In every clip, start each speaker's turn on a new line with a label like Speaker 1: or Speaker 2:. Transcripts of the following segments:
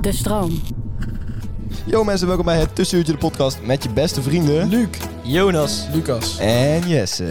Speaker 1: De stroom.
Speaker 2: Yo mensen, welkom bij het Tussenuurtje de podcast met je beste vrienden... Luc, Jonas
Speaker 3: Lucas.
Speaker 2: en Jesse.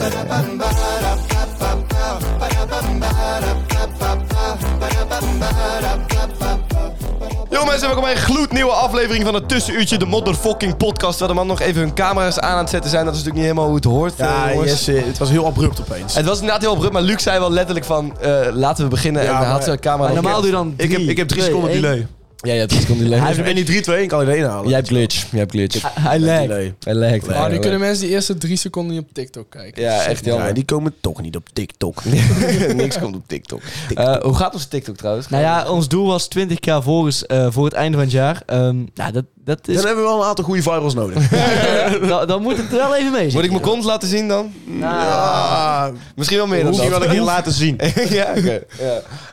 Speaker 2: Yo mensen, welkom bij een gloednieuwe aflevering van het Tussenuurtje de motherfucking podcast. Waar de man nog even hun camera's aan aan het zetten zijn. Dat is natuurlijk niet helemaal hoe het hoort,
Speaker 3: Ja,
Speaker 2: eh, jongens.
Speaker 3: Jesse, het was heel abrupt opeens.
Speaker 2: Het was inderdaad heel abrupt, maar Luc zei wel letterlijk van... eh, laten we beginnen en
Speaker 3: Ja,
Speaker 2: hij had
Speaker 3: maar-
Speaker 2: zijn camera...
Speaker 4: Maar
Speaker 2: al
Speaker 4: normaal doe je
Speaker 2: keer-
Speaker 4: dan
Speaker 3: ik, heb, ik heb drie seconden delay.
Speaker 2: Ja, ja, drie seconden
Speaker 3: Hij
Speaker 2: delay. Dus
Speaker 3: heeft, en die 3, 2, ik kan iedereen halen.
Speaker 2: Jij hebt glitch, jij hebt glitch.
Speaker 4: Hij lijkt.
Speaker 3: delay.
Speaker 2: Hij lekt.
Speaker 3: Ah, die
Speaker 5: Ah,
Speaker 2: Ja,
Speaker 5: nu kunnen mensen die eerste drie seconden niet op TikTok kijken.
Speaker 2: Ja, echt jammer.
Speaker 3: Ja, die komen toch niet op TikTok.
Speaker 4: Nou
Speaker 2: Niks komt op TikTok. Eh, hoe gaat onze TikTok trouwens?
Speaker 4: Nou ja, ons doel was 20k volgers eh, voor het einde van het jaar. Ehm, nou, dat, dat
Speaker 3: Dan
Speaker 4: is...
Speaker 3: hebben we wel een aantal goede virals nodig.
Speaker 4: eh, dan, dan moet het er wel even mee Nou,
Speaker 2: Moet ik
Speaker 4: zitten.
Speaker 2: mijn kont laten zien dan?
Speaker 3: Ah,
Speaker 2: Misschien wel meer dan
Speaker 3: moet
Speaker 2: dat.
Speaker 3: je wel een keer laten zien.
Speaker 2: ja, oké.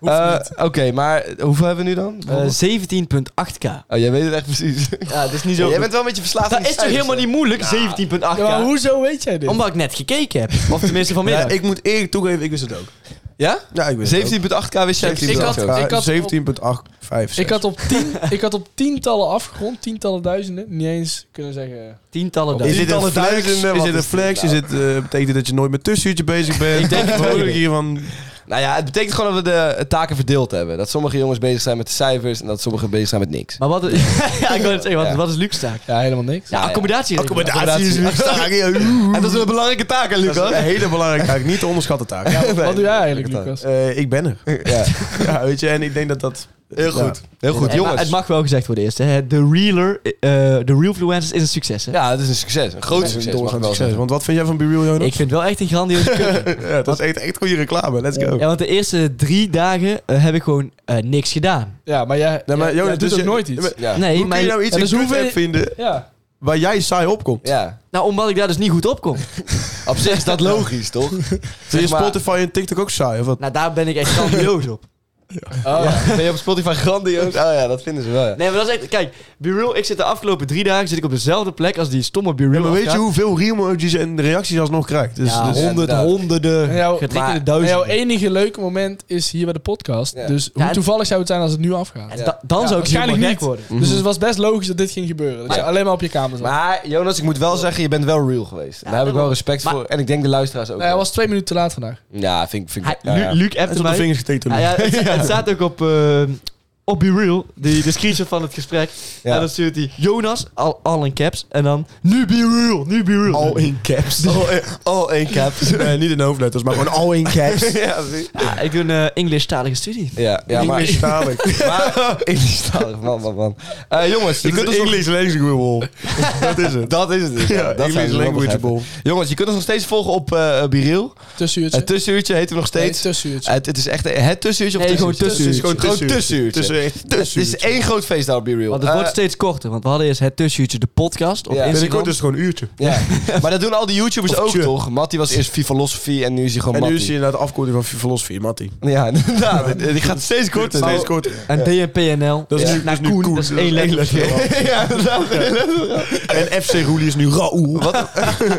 Speaker 2: Ja. Eh, Oké, maar hoeveel hebben we nu dan?
Speaker 4: Eh, 17.8k.
Speaker 2: oh, jij weet het echt precies.
Speaker 4: Ja, dat is niet
Speaker 2: Ja,
Speaker 4: zo...
Speaker 2: jij bent wel een beetje verslaafd
Speaker 4: dat is toch helemaal niet moeilijk, 17.8k?
Speaker 5: Ja, maar hoezo weet jij dit?
Speaker 4: Omdat ik net gekeken heb. Of tenminste vanmiddag.
Speaker 3: Ja, ik moet eerlijk toegeven, ik wist het ook.
Speaker 2: Ja?
Speaker 3: Ja, ik
Speaker 2: 17.8k wist jij
Speaker 5: Ik had-
Speaker 2: precies.
Speaker 5: ik had op-
Speaker 3: 17.856.
Speaker 5: Ik had, op tien, ik had op tientallen afgerond, tientallen duizenden, niet eens kunnen zeggen...
Speaker 4: Tientallen
Speaker 3: Is
Speaker 4: duizenden.
Speaker 3: dit een
Speaker 2: Tientallen
Speaker 3: flex? Is
Speaker 2: duizenden, wat
Speaker 3: dit een
Speaker 2: is dit
Speaker 3: flex? Is dit, eh, betekent dit dat je nooit met tussenuurtje bezig bent?
Speaker 2: Ik denk het wel.
Speaker 3: Vrolijk hiervan.
Speaker 2: Nou ja, het betekent gewoon dat we de eh, taken verdeeld hebben. Dat sommige jongens bezig zijn met de cijfers en dat sommigen bezig zijn met niks.
Speaker 4: Maar wat... ja, ik wil het zeggen, wat,
Speaker 2: Ja.
Speaker 4: wat is luxe taak?
Speaker 5: Ja, helemaal niks.
Speaker 4: Ja, accommodatie.
Speaker 2: Accommodatie is En dat is een belangrijke taak, hè,
Speaker 3: Dat is een
Speaker 2: Lucas?
Speaker 3: hele belangrijke taak. Niet te onderschatten taak.
Speaker 5: Wat doe jij eigenlijk, Lucas?
Speaker 3: Eh, ik ben er.
Speaker 2: Ja.
Speaker 3: Ja, weet je, en ik denk dat dat...
Speaker 2: Heel goed. Heel goed,
Speaker 4: Hey, maar
Speaker 2: jongens.
Speaker 4: Het mag wel gezegd worden eerst. Hè. De realer, eh, de realfluencers is een succes. Hè?
Speaker 2: Ja, het is een succes. Een groot
Speaker 3: Dat is
Speaker 2: succes.
Speaker 3: een
Speaker 2: mag ik wel
Speaker 3: doorgaand succes.
Speaker 2: zeggen.
Speaker 3: Want wat vind jij van BeReal, Jonas?
Speaker 4: Ik vind wel echt een grandioze keuze.
Speaker 3: ja, dat is echt, echt goede reclame. Let's go.
Speaker 4: Ja, want de eerste drie dagen eh, heb ik gewoon eh, niks gedaan.
Speaker 5: Ja, maar jij,
Speaker 3: Nee, maar
Speaker 5: jij-
Speaker 3: Jonas,
Speaker 5: jij doet
Speaker 3: dus
Speaker 5: ook
Speaker 3: je-
Speaker 5: nooit
Speaker 3: Ja,
Speaker 5: iets.
Speaker 3: maar-
Speaker 2: Ja.
Speaker 4: Nee,
Speaker 3: Hoe kun
Speaker 4: maar,
Speaker 3: je nou
Speaker 4: ja,
Speaker 3: iets in
Speaker 4: dus hoeveel-
Speaker 3: kut-app vinden
Speaker 2: eh,
Speaker 5: Ja.
Speaker 3: waar jij saai op komt?
Speaker 2: Ja,
Speaker 4: Nou, omdat ik daar dus niet goed op kom.
Speaker 2: op zich is dat logisch, toch?
Speaker 3: Vind je
Speaker 2: Zeg maar-
Speaker 3: Spotify en TikTok ook saai? Of wat?
Speaker 4: Nou, daar ben ik echt grandioos op.
Speaker 2: Oh, Ben je op Spotify grandioos? Oh ja, dat vinden ze wel, ja.
Speaker 4: Nee, maar dat is echt... Kijk, Bureau, ik zit de afgelopen drie dagen zit ik op dezelfde plek als die stomme Bureau.
Speaker 3: Ja, maar weet je hoeveel emojis en reacties alsnog krijgt? Dus,
Speaker 4: Ja,
Speaker 3: dus-
Speaker 2: honderd, inderdaad.
Speaker 4: honderden,
Speaker 5: En jouw-
Speaker 4: getekende
Speaker 5: maar-
Speaker 4: duizenden.
Speaker 5: en jouw enige leuke moment is hier bij de podcast.
Speaker 2: Ja.
Speaker 5: Dus hoe
Speaker 4: Ja, en-
Speaker 5: toevallig zou het zijn als het nu afgaat?
Speaker 4: En da- dan zou ik
Speaker 5: waarschijnlijk
Speaker 4: helemaal gek
Speaker 5: niet.
Speaker 4: worden.
Speaker 5: Dus het was best logisch dat dit ging gebeuren. Dat
Speaker 2: Mhm. Maar-
Speaker 5: je alleen maar op je kamer zat.
Speaker 2: Maar Jonas, ik moet wel zeggen, je bent wel real geweest. Daar heb ik wel respect
Speaker 4: Maar-
Speaker 2: voor. En ik denk de luisteraars ook.
Speaker 5: Nee, Nou, hij
Speaker 2: wel.
Speaker 5: was twee minuten te laat vandaag.
Speaker 2: Ja, vind ik... Vind
Speaker 4: Hij,
Speaker 2: ik ja,
Speaker 4: Lu-
Speaker 2: ja.
Speaker 4: Luc appte
Speaker 3: tot de
Speaker 4: mij.
Speaker 3: vingers geteken.
Speaker 4: Ah, ja, het, het staat ook op, eh op BeReal, die, de screenshot van het gesprek.
Speaker 2: Ja.
Speaker 4: En dan stuurt hij Jonas, al, al in caps, en dan nu BeReal, nu BeReal.
Speaker 3: All in caps.
Speaker 2: Al in, all in caps.
Speaker 3: Nee, niet in hoofdletters, maar gewoon all in caps.
Speaker 2: ja, zie-
Speaker 4: Ja, ik doe een eh, English-talige studie.
Speaker 2: ja, ja, maar...
Speaker 3: English talig.
Speaker 2: maar Engelstalig, man, man, man. Eh, jongens, je
Speaker 3: Dit
Speaker 2: kunt
Speaker 3: is
Speaker 2: ons nog-
Speaker 3: English languageable. Dat is het.
Speaker 2: Dat is het. dus,
Speaker 3: Ja,
Speaker 2: dat zijn
Speaker 3: English
Speaker 2: ze wel
Speaker 3: languageable.
Speaker 2: begrijpen. Jongens, je kunt ons nog steeds volgen op eh Biril.
Speaker 5: Tussenuurtje.
Speaker 2: Het tussenuurtje heten we nog steeds.
Speaker 5: Nee, tussenuurtje.
Speaker 2: het, het is echt het tussenuurtje of
Speaker 4: Nee, gewoon
Speaker 2: tussenuurtje?
Speaker 3: tussenuurtje.
Speaker 2: dus Gewoon tussenuurtje.
Speaker 3: Tussen echt
Speaker 2: Het is
Speaker 3: tussen.
Speaker 2: één groot feest daar op Eh, BeReal.
Speaker 4: Want het wordt steeds korter, want we hadden eerst het tussenuurtje de podcast op
Speaker 2: Ja.
Speaker 4: Instagram.
Speaker 3: Binnenkort is het gewoon een uurtje.
Speaker 2: Ja, maar dat doen al die YouTubers
Speaker 3: Of
Speaker 2: ook
Speaker 3: tje.
Speaker 2: toch? Matty was eerst Vivalosofie en nu is hij gewoon
Speaker 3: En nu is
Speaker 2: Matty.
Speaker 3: je naar de afkorting van filosofie, Matty.
Speaker 2: Ja, inderdaad. Het- Het gaat steeds korter.
Speaker 3: Steeds korter.
Speaker 4: En DNPNL.
Speaker 3: Dat is
Speaker 2: Ja.
Speaker 3: nu, dat is nu
Speaker 4: nou, Koen,
Speaker 3: Koen.
Speaker 4: dat is één letter.
Speaker 2: ja, inderdaad. Eh,
Speaker 3: En FC Roelie is nu Raoul.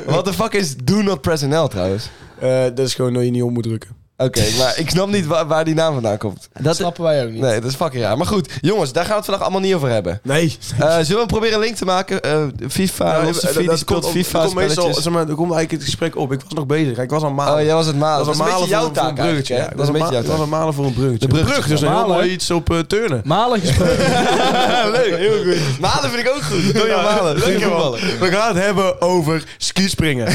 Speaker 2: Wat de fuck is Do Not Press NL trouwens?
Speaker 3: Eh, dat is gewoon dat je niet om moet drukken.
Speaker 2: Oké, maar ik snap niet waar, waar die naam vandaan komt.
Speaker 5: Dat snappen wij ook niet.
Speaker 2: Nee, dat is fucking raar. Maar goed, jongens, daar gaan we het vandaag allemaal niet over hebben.
Speaker 3: Nee.
Speaker 2: Eh, zullen we proberen een link te maken? Eh, FIFA,
Speaker 3: Nou,
Speaker 2: Losse
Speaker 3: dat-
Speaker 2: Fee, die
Speaker 3: dat
Speaker 2: speelt
Speaker 3: komt-
Speaker 2: FIFA
Speaker 3: dat komt meestal,
Speaker 2: spelletjes.
Speaker 3: zeg maar, er komt eigenlijk het gesprek op. Ik was nog bezig. Ik was aan het malen.
Speaker 2: Oh, jij was het malen. Dat is een beetje
Speaker 3: malen
Speaker 2: jouw
Speaker 3: voor- voor
Speaker 2: taak eigenlijk,
Speaker 3: Ja,
Speaker 2: hè?
Speaker 3: ik
Speaker 2: Dat is een beetje jouw
Speaker 3: ma- ik was
Speaker 2: taak.
Speaker 3: aan het malen voor een bruggetje.
Speaker 2: De brug
Speaker 3: brug, dus een heel mooi iets op eh, turnen.
Speaker 5: Malen gesproken.
Speaker 2: Leuk, heel goed. Malen vind ik ook goed. Doe je malen. Goeie
Speaker 3: Lekker man.
Speaker 2: voetballen.
Speaker 3: We gaan het hebben over skispringen.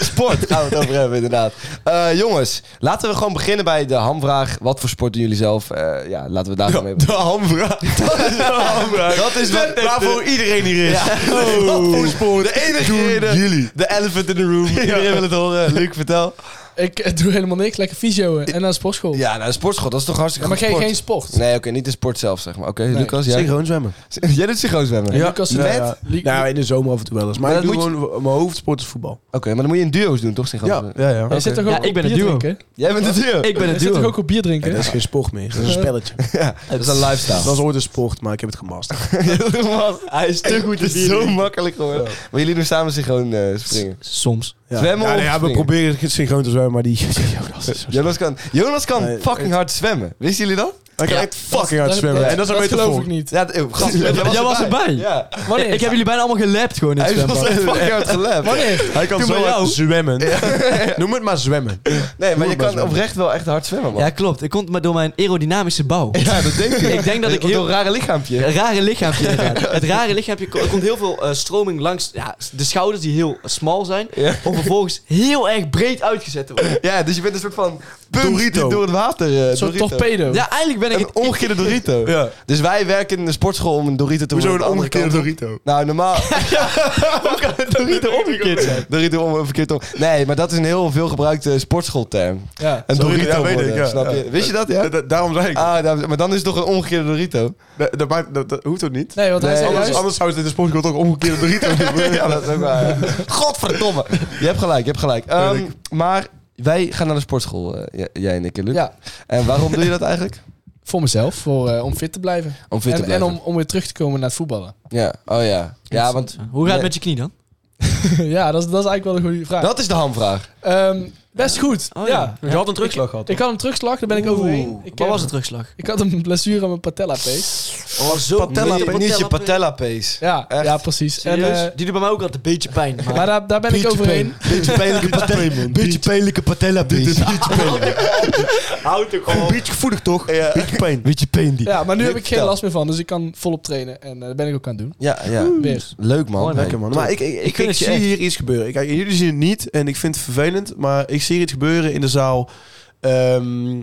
Speaker 2: Sport gaan we het over hebben, inderdaad. Eh, jongens, laten we gewoon beginnen bij de hamvraag. Wat voor sport doen jullie zelf? Eh, ja, laten we daar gewoon mee
Speaker 3: De hamvraag.
Speaker 2: Dat is wat...
Speaker 3: Waarvoor iedereen hier is.
Speaker 2: Ja. Wat voor sport? Oh. De enige reden. De elephant in the room. Iedereen wil het horen. Luc, vertel.
Speaker 5: ik eh, doe helemaal niks. Lekker fysio eh, en naar de sportschool.
Speaker 2: Ja, nou, sportschot, dat is toch
Speaker 5: Ja,
Speaker 2: hartstikke
Speaker 5: maar
Speaker 2: goed
Speaker 5: geen,
Speaker 2: sport.
Speaker 5: geen sport.
Speaker 2: Nee, oké, niet de sport zelf, zeg maar. Oké,
Speaker 5: Nee.
Speaker 2: Lucas, jij...
Speaker 3: gewoon zwemmen.
Speaker 2: jij doet synchroon zwemmen?
Speaker 5: Ja. Lucas,
Speaker 3: Ja,
Speaker 5: net?
Speaker 3: ja.
Speaker 5: Li-
Speaker 3: Nou, in de zomer af en toe wel eens. Maar,
Speaker 2: Maar
Speaker 3: ik
Speaker 2: dat
Speaker 3: doe gewoon, mijn hoofdsport is voetbal.
Speaker 2: Oké, maar dan moet je in duo's doen, toch? Synchroon zwemmen?
Speaker 3: ja, ja.
Speaker 5: Jij zit toch ook
Speaker 4: Ja,
Speaker 5: op
Speaker 4: ik ben
Speaker 5: bier
Speaker 4: een duo.
Speaker 5: drinken?
Speaker 2: Jij bent de duo.
Speaker 4: Ik ben
Speaker 5: Jij
Speaker 4: het
Speaker 5: zit toch
Speaker 4: duo.
Speaker 5: ook op bier drinken?
Speaker 3: dat is geen sport meer. Dat is een spelletje.
Speaker 2: Dat is een lifestyle.
Speaker 3: Dat was ooit een sport, maar ik heb het gemasterd.
Speaker 2: Hij is te goed. Het is zo makkelijk geworden. Maar jullie doen samen synchroon eh springen.
Speaker 4: Soms.
Speaker 3: Ja.
Speaker 2: Zwemmen
Speaker 3: ja,
Speaker 2: of
Speaker 3: nee, ja, we
Speaker 2: springen?
Speaker 3: proberen het synchroon te zwemmen, maar die... Jonas is zo-
Speaker 2: Jonas kan, Jonas kan
Speaker 3: Nee,
Speaker 2: fucking hard zwemmen. Wisten jullie dat?
Speaker 3: Hij kan
Speaker 2: Ja.
Speaker 3: echt fucking hard
Speaker 5: Dat-
Speaker 3: zwemmen. En dat is een
Speaker 5: dat geloof
Speaker 3: metafoor.
Speaker 5: ik niet.
Speaker 2: Ja, eh, gast,
Speaker 4: Jij was erbij.
Speaker 2: Ja.
Speaker 4: Wanneer? Ik heb jullie bijna allemaal gelapt gewoon in het
Speaker 2: Hij was
Speaker 4: zwembad.
Speaker 2: echt fucking hard gelapt.
Speaker 5: Wanneer?
Speaker 3: Hij kan
Speaker 4: Doe
Speaker 3: zo
Speaker 4: maar jou.
Speaker 3: hard zwemmen. Noem het maar zwemmen.
Speaker 2: Nee, maar je
Speaker 3: het maar
Speaker 2: kan
Speaker 3: zwemmen.
Speaker 2: oprecht wel echt hard zwemmen, man.
Speaker 4: Ja, klopt. Ik komt maar door mijn aerodynamische bouw.
Speaker 2: Ja, dat denk
Speaker 4: Ik denk dat ik
Speaker 2: Door
Speaker 4: heel
Speaker 2: een rare lichaampje.
Speaker 4: Een rare lichaampje inderdaad. Het rare lichaampje, er komt heel veel eh, stroming langs ja, de schouders die heel smal zijn.
Speaker 2: Ja.
Speaker 4: Om vervolgens heel erg breed uitgezet te worden.
Speaker 2: Ja, dus je bent een soort van punt
Speaker 3: Dorito.
Speaker 2: die door het water. eh,
Speaker 5: Een soort
Speaker 2: Dorito.
Speaker 5: torpedo.
Speaker 4: Ja, eigenlijk ben ik
Speaker 2: Een
Speaker 4: het...
Speaker 2: omgekeerde Dorito.
Speaker 3: Ja.
Speaker 2: Dus wij werken in de sportschool om een Dorito te
Speaker 3: Hoezo
Speaker 2: worden
Speaker 3: een
Speaker 2: aan de andere
Speaker 3: omgekeerde
Speaker 2: kant op.
Speaker 3: Dorito?
Speaker 2: Nou, normaal... Hoe kan een Dorito omgekeerd zijn? Dorito om, verkeerd om. Nee, maar dat is een heel veel gebruikte sportschoolterm.
Speaker 5: Ja.
Speaker 2: Een
Speaker 3: Sorry,
Speaker 2: Dorito
Speaker 3: ja, weet ik,
Speaker 2: worden,
Speaker 3: ja.
Speaker 2: snap je?
Speaker 3: Ja.
Speaker 2: Wist je dat, ja?
Speaker 3: Da- da- Daarom zei ik.
Speaker 2: Ah, daar- maar dan is het toch een omgekeerde Dorito?
Speaker 3: Dat, dat, maakt- dat- dat hoeft ook niet.
Speaker 5: Nee, want hij
Speaker 2: Nee,
Speaker 5: zei
Speaker 3: Anders,
Speaker 5: juist...
Speaker 3: anders zou het in de sportschool toch omgekeerde Dorito doen.
Speaker 2: ja, dat is ook waar. ja. Godverdomme. Je hebt gelijk, je hebt gelijk. Ehm,
Speaker 3: Weet
Speaker 2: maar wij gaan naar de sportschool, eh, j- jij en ik en Luc.
Speaker 5: Ja,
Speaker 2: En waarom doe je dat eigenlijk?
Speaker 5: voor mezelf. Voor, eh, om fit te blijven.
Speaker 2: Om fit
Speaker 5: en,
Speaker 2: te blijven.
Speaker 5: En om, om weer terug te komen naar het voetballen.
Speaker 2: Ja, oh ja. Ja, want
Speaker 4: Hoe gaat
Speaker 2: Nee.
Speaker 4: het met je knie dan?
Speaker 5: ja, dat is, dat is eigenlijk wel een goede vraag.
Speaker 2: dat is de hamvraag.
Speaker 5: Ehm, best goed.
Speaker 4: Oh, ja.
Speaker 5: ja.
Speaker 3: Je had een terugslag gehad.
Speaker 5: Ik had hem terugslag, daar ben ik overheen. Ik,
Speaker 4: Wat
Speaker 5: eh,
Speaker 4: was de terugslag?
Speaker 5: Ik had een blessure aan mijn patella pees.
Speaker 4: Oh, zo.
Speaker 2: Patella,
Speaker 4: Nee,
Speaker 2: niet je patella pees.
Speaker 5: Ja,
Speaker 2: Echt?
Speaker 5: ja, precies. En,
Speaker 4: Serieus?
Speaker 5: eh,
Speaker 4: Die doet bij mij ook altijd een beetje pijn. Maar,
Speaker 5: maar daar, daar ben ik overheen.
Speaker 2: Beetje pijnlijke patella. Beetje pijnlijke patella pees.
Speaker 4: Houd toch
Speaker 3: Een beetje gevoelig toch? Beetje pijn.
Speaker 2: Beetje pijn die.
Speaker 5: Ja, maar nu heb ik geen
Speaker 2: Vertel.
Speaker 5: last meer van, dus ik kan volop trainen. En eh, dat ben ik ook aan het doen.
Speaker 2: Ja, ja.
Speaker 5: Weer.
Speaker 2: Leuk man.
Speaker 4: Oh,
Speaker 3: Lekker man. Maar ik, ik, ik,
Speaker 4: gun
Speaker 3: ik
Speaker 4: het je
Speaker 3: zie
Speaker 4: echt.
Speaker 3: hier iets gebeuren. Kijk, jullie zien het niet en ik vind het vervelend, maar ik zie hier iets gebeuren in de zaal. Ehm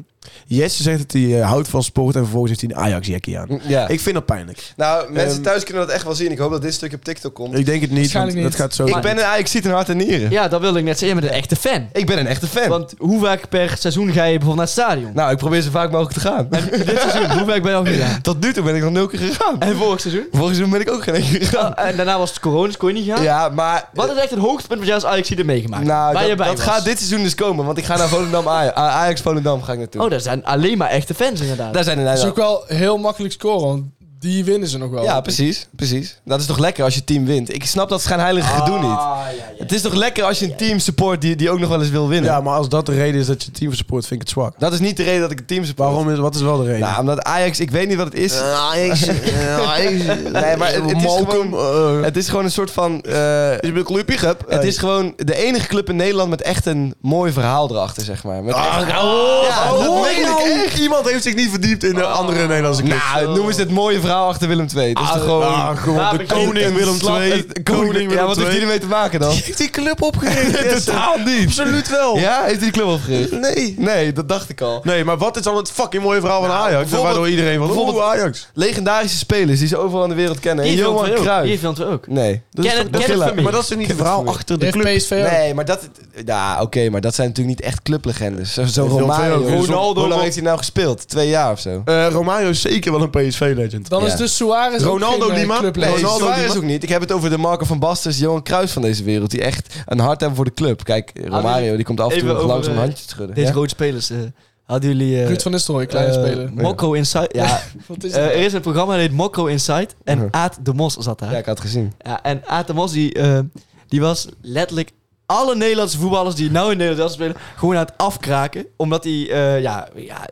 Speaker 3: Jesse zegt dat hij eh, houdt van sport en vervolgens heeft hij een Ajax-jackie aan.
Speaker 2: Ja.
Speaker 3: Ik vind dat pijnlijk.
Speaker 2: nou, mensen
Speaker 3: Ehm,
Speaker 2: thuis kunnen dat echt wel zien. Ik hoop dat dit stuk op TikTok komt.
Speaker 3: Ik denk het niet, want
Speaker 5: Waarschijnlijk
Speaker 3: dat
Speaker 5: niet.
Speaker 3: gaat zo...
Speaker 2: Ik ben een ik ziet een hart en nieren.
Speaker 4: Ja, dat wilde ik net zeggen. Jij bent een echte fan.
Speaker 2: Ik ben een echte fan.
Speaker 4: Want hoe vaak per seizoen ga je bijvoorbeeld naar het stadion?
Speaker 2: nou, ik probeer zo vaak mogelijk te gaan.
Speaker 4: Dit seizoen, hoe vaak ben je al gegaan?
Speaker 2: Tot nu toe ben ik nog nul keer gegaan.
Speaker 4: En vorig seizoen? Ah,
Speaker 2: Vorig seizoen ben ik ook geen één keer gegaan.
Speaker 4: en daarna was het corona, dus kon je niet gaan.
Speaker 2: Ja, maar...
Speaker 4: Wat is echt het hoogtepunt wat jij als Ajax hier meegemaakt?
Speaker 2: Nou,
Speaker 4: waar
Speaker 2: dat,
Speaker 4: je bij
Speaker 2: dat
Speaker 4: was?
Speaker 2: gaat dit seizoen dus komen. Want ik ga naar Volendam Ajax. Ajax Volendam ga ik naartoe.
Speaker 4: Oh, daar zijn alleen maar echte fans inderdaad.
Speaker 2: Daar zijn
Speaker 5: Dat is
Speaker 2: inderdaad...
Speaker 5: Dus ook wel heel makkelijk scoren, want die winnen ze nog wel.
Speaker 2: Ja, precies, precies. Dat is toch lekker als je team wint. Ik snap dat schijnheilige
Speaker 4: Ah.
Speaker 2: gedoe Ah, niet. Het is toch lekker als je een team support die, die ook nog wel eens wil winnen.
Speaker 3: Ja, maar als dat de reden is dat je team support, vind ik het zwak.
Speaker 2: Dat is niet de reden dat ik een team support.
Speaker 3: Waarom is, wat is wel de reden?
Speaker 2: Nou, omdat Ajax, ik weet niet wat het is.
Speaker 3: Ajax, Ajax.
Speaker 2: Nee, maar het- het is
Speaker 3: Malcolm, eh,
Speaker 2: Het is gewoon een soort van. eh,
Speaker 3: is een clubje, heb.
Speaker 2: het is gewoon de enige club in Nederland met echt een mooi verhaal erachter, zeg maar.
Speaker 3: Ah,
Speaker 2: Met echt- Ja, dat
Speaker 3: hoor
Speaker 2: meen
Speaker 3: je
Speaker 2: ik
Speaker 3: nou?
Speaker 2: echt. Ah.
Speaker 3: Iemand heeft zich niet verdiept in de andere Nederlandse clubs.
Speaker 2: Nou, noem eens het mooie verhaal achter Willem II. Dat is toch gewoon.
Speaker 3: Ah, gewoon
Speaker 4: Daar
Speaker 3: de
Speaker 4: begint
Speaker 3: koning
Speaker 2: een
Speaker 3: Willem
Speaker 2: slap-
Speaker 3: II.
Speaker 2: een eh, Koning, ja, wat heeft die ermee te maken dan?
Speaker 3: heeft die club opgericht?
Speaker 2: Totaal niet.
Speaker 3: Absoluut wel.
Speaker 2: Ja, heeft hij de club opgericht?
Speaker 3: Nee.
Speaker 2: Nee, dat dacht ik al.
Speaker 3: Nee, maar wat is dan het fucking mooie verhaal van
Speaker 2: Nou,
Speaker 3: Ajax?
Speaker 2: bijvoorbeeld-
Speaker 3: Waardoor iedereen van,
Speaker 2: bijvoorbeeld-
Speaker 3: oh, Ajax.
Speaker 2: Legendarische spelers die ze overal in de wereld kennen. En
Speaker 4: Hier
Speaker 2: Johan
Speaker 4: Johan ook. Hier
Speaker 2: Cruijff.
Speaker 4: Villand ook.
Speaker 2: Nee.
Speaker 3: Dat is
Speaker 4: Ken het-
Speaker 3: toch-
Speaker 4: ken
Speaker 3: dat-
Speaker 4: het familie.
Speaker 3: Maar dat is toch niet het verhaal achter de
Speaker 5: Heeft
Speaker 3: club?
Speaker 5: PSV ook.
Speaker 2: Nee, maar dat... Ja, oké, maar dat zijn natuurlijk niet echt clublegendes. Zo, zo
Speaker 3: Willem II
Speaker 2: Romario.
Speaker 3: ook.
Speaker 2: Hoe-
Speaker 3: Ronaldo
Speaker 2: Hoe lang
Speaker 3: wel.
Speaker 2: heeft hij nou gespeeld? Twee jaar of zo?
Speaker 3: Eh, Romario is zeker wel een PSV-legend.
Speaker 5: Dan
Speaker 2: Ja.
Speaker 5: is dus Suarez ook
Speaker 3: Ronaldo
Speaker 5: geen, eh,
Speaker 3: Lima?
Speaker 5: clublegende.
Speaker 2: Nee,
Speaker 3: Ronaldo
Speaker 2: Ronaldo
Speaker 3: die
Speaker 2: is
Speaker 3: ma-
Speaker 2: ook niet. Ik heb het over de Marco van Basten, Johan Cruijff van deze wereld. Die echt een hart hebben voor de club.
Speaker 3: Ah,
Speaker 2: Kijk, Romario, die komt af en toe
Speaker 4: Even
Speaker 2: nog
Speaker 4: over,
Speaker 2: langs om een
Speaker 4: eh,
Speaker 2: handje te schudden.
Speaker 4: Deze
Speaker 2: Ja?
Speaker 4: grote spelers. eh, hadden jullie... eh
Speaker 5: Ruud van Nistelrooy, kleine
Speaker 4: eh,
Speaker 5: speler.
Speaker 4: Mokko Inside. Ja,
Speaker 5: Wat is
Speaker 4: eh,
Speaker 5: dat?
Speaker 4: er is een programma dat heet Mokko Inside. En
Speaker 2: Mhm.
Speaker 4: Aad de Mos zat daar.
Speaker 2: Ja, ik had het gezien.
Speaker 4: Ja, en Aad de Mos, die, eh, die was letterlijk alle Nederlandse voetballers die nou in Nederland spelen, gewoon aan het afkraken. Omdat hij, eh, ja, ja,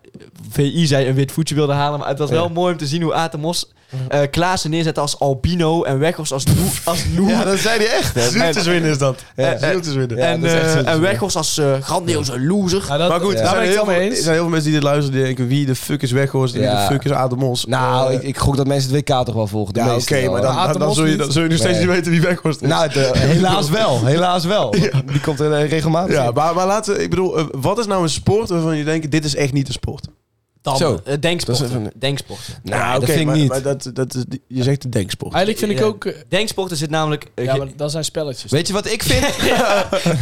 Speaker 4: VI zei een wit voetje wilde halen. Maar het was wel
Speaker 3: Ja.
Speaker 4: mooi om te zien hoe Atemos eh Klaassen neerzette als albino en Weghorst als, Noe- als Noe.
Speaker 2: Ja, dat zei hij echt. hè.
Speaker 3: Zieltjes winnen is dat.
Speaker 4: Ja.
Speaker 3: Zieltjes winnen.
Speaker 4: en,
Speaker 2: dat is echt
Speaker 4: eh,
Speaker 2: zo te
Speaker 4: en
Speaker 2: zien.
Speaker 4: Weghorst als eh grandioze loser.
Speaker 5: dat,
Speaker 3: maar goed,
Speaker 5: daar
Speaker 3: er,
Speaker 5: ben
Speaker 3: zijn
Speaker 5: ik
Speaker 3: heel
Speaker 5: het
Speaker 3: veel,
Speaker 5: mee
Speaker 3: er
Speaker 5: eens.
Speaker 3: zijn heel veel mensen die dit luisteren die denken... wie de fuck is Weghorst en wie
Speaker 2: Ja.
Speaker 3: de fuck is Ademos?
Speaker 2: Nou,
Speaker 3: Eh,
Speaker 2: ik, ik gok dat mensen het WK toch wel volgen. de
Speaker 3: ja, oké,
Speaker 2: meeste wel,
Speaker 3: maar
Speaker 2: hè.
Speaker 3: dan, dan, dan zul je, dan zul je nog steeds
Speaker 2: Nee.
Speaker 3: niet weten wie Weghorst is.
Speaker 2: Nou, het, eh, helaas wel. Helaas wel. Die komt er eh, regelmatig.
Speaker 3: ja,
Speaker 2: in.
Speaker 3: maar, maar laten we... Ik bedoel, eh, wat is nou een sport waarvan je denkt... dit is echt niet een sport?
Speaker 4: Dan,
Speaker 2: Zo.
Speaker 4: eh, denksporten.
Speaker 2: Dat is even-
Speaker 4: Denksporten.
Speaker 2: nou,
Speaker 3: oké,
Speaker 2: dat vind ik
Speaker 3: maar,
Speaker 2: niet.
Speaker 3: maar dat, dat is, die- je zegt een denksport.
Speaker 5: Eigenlijk vind ik
Speaker 4: Ja.
Speaker 5: ook... eh,
Speaker 4: Denksporten zit namelijk... eh,
Speaker 5: Ja,
Speaker 4: ge-
Speaker 5: maar dat zijn spelletjes.
Speaker 2: Weet je wat ik vind?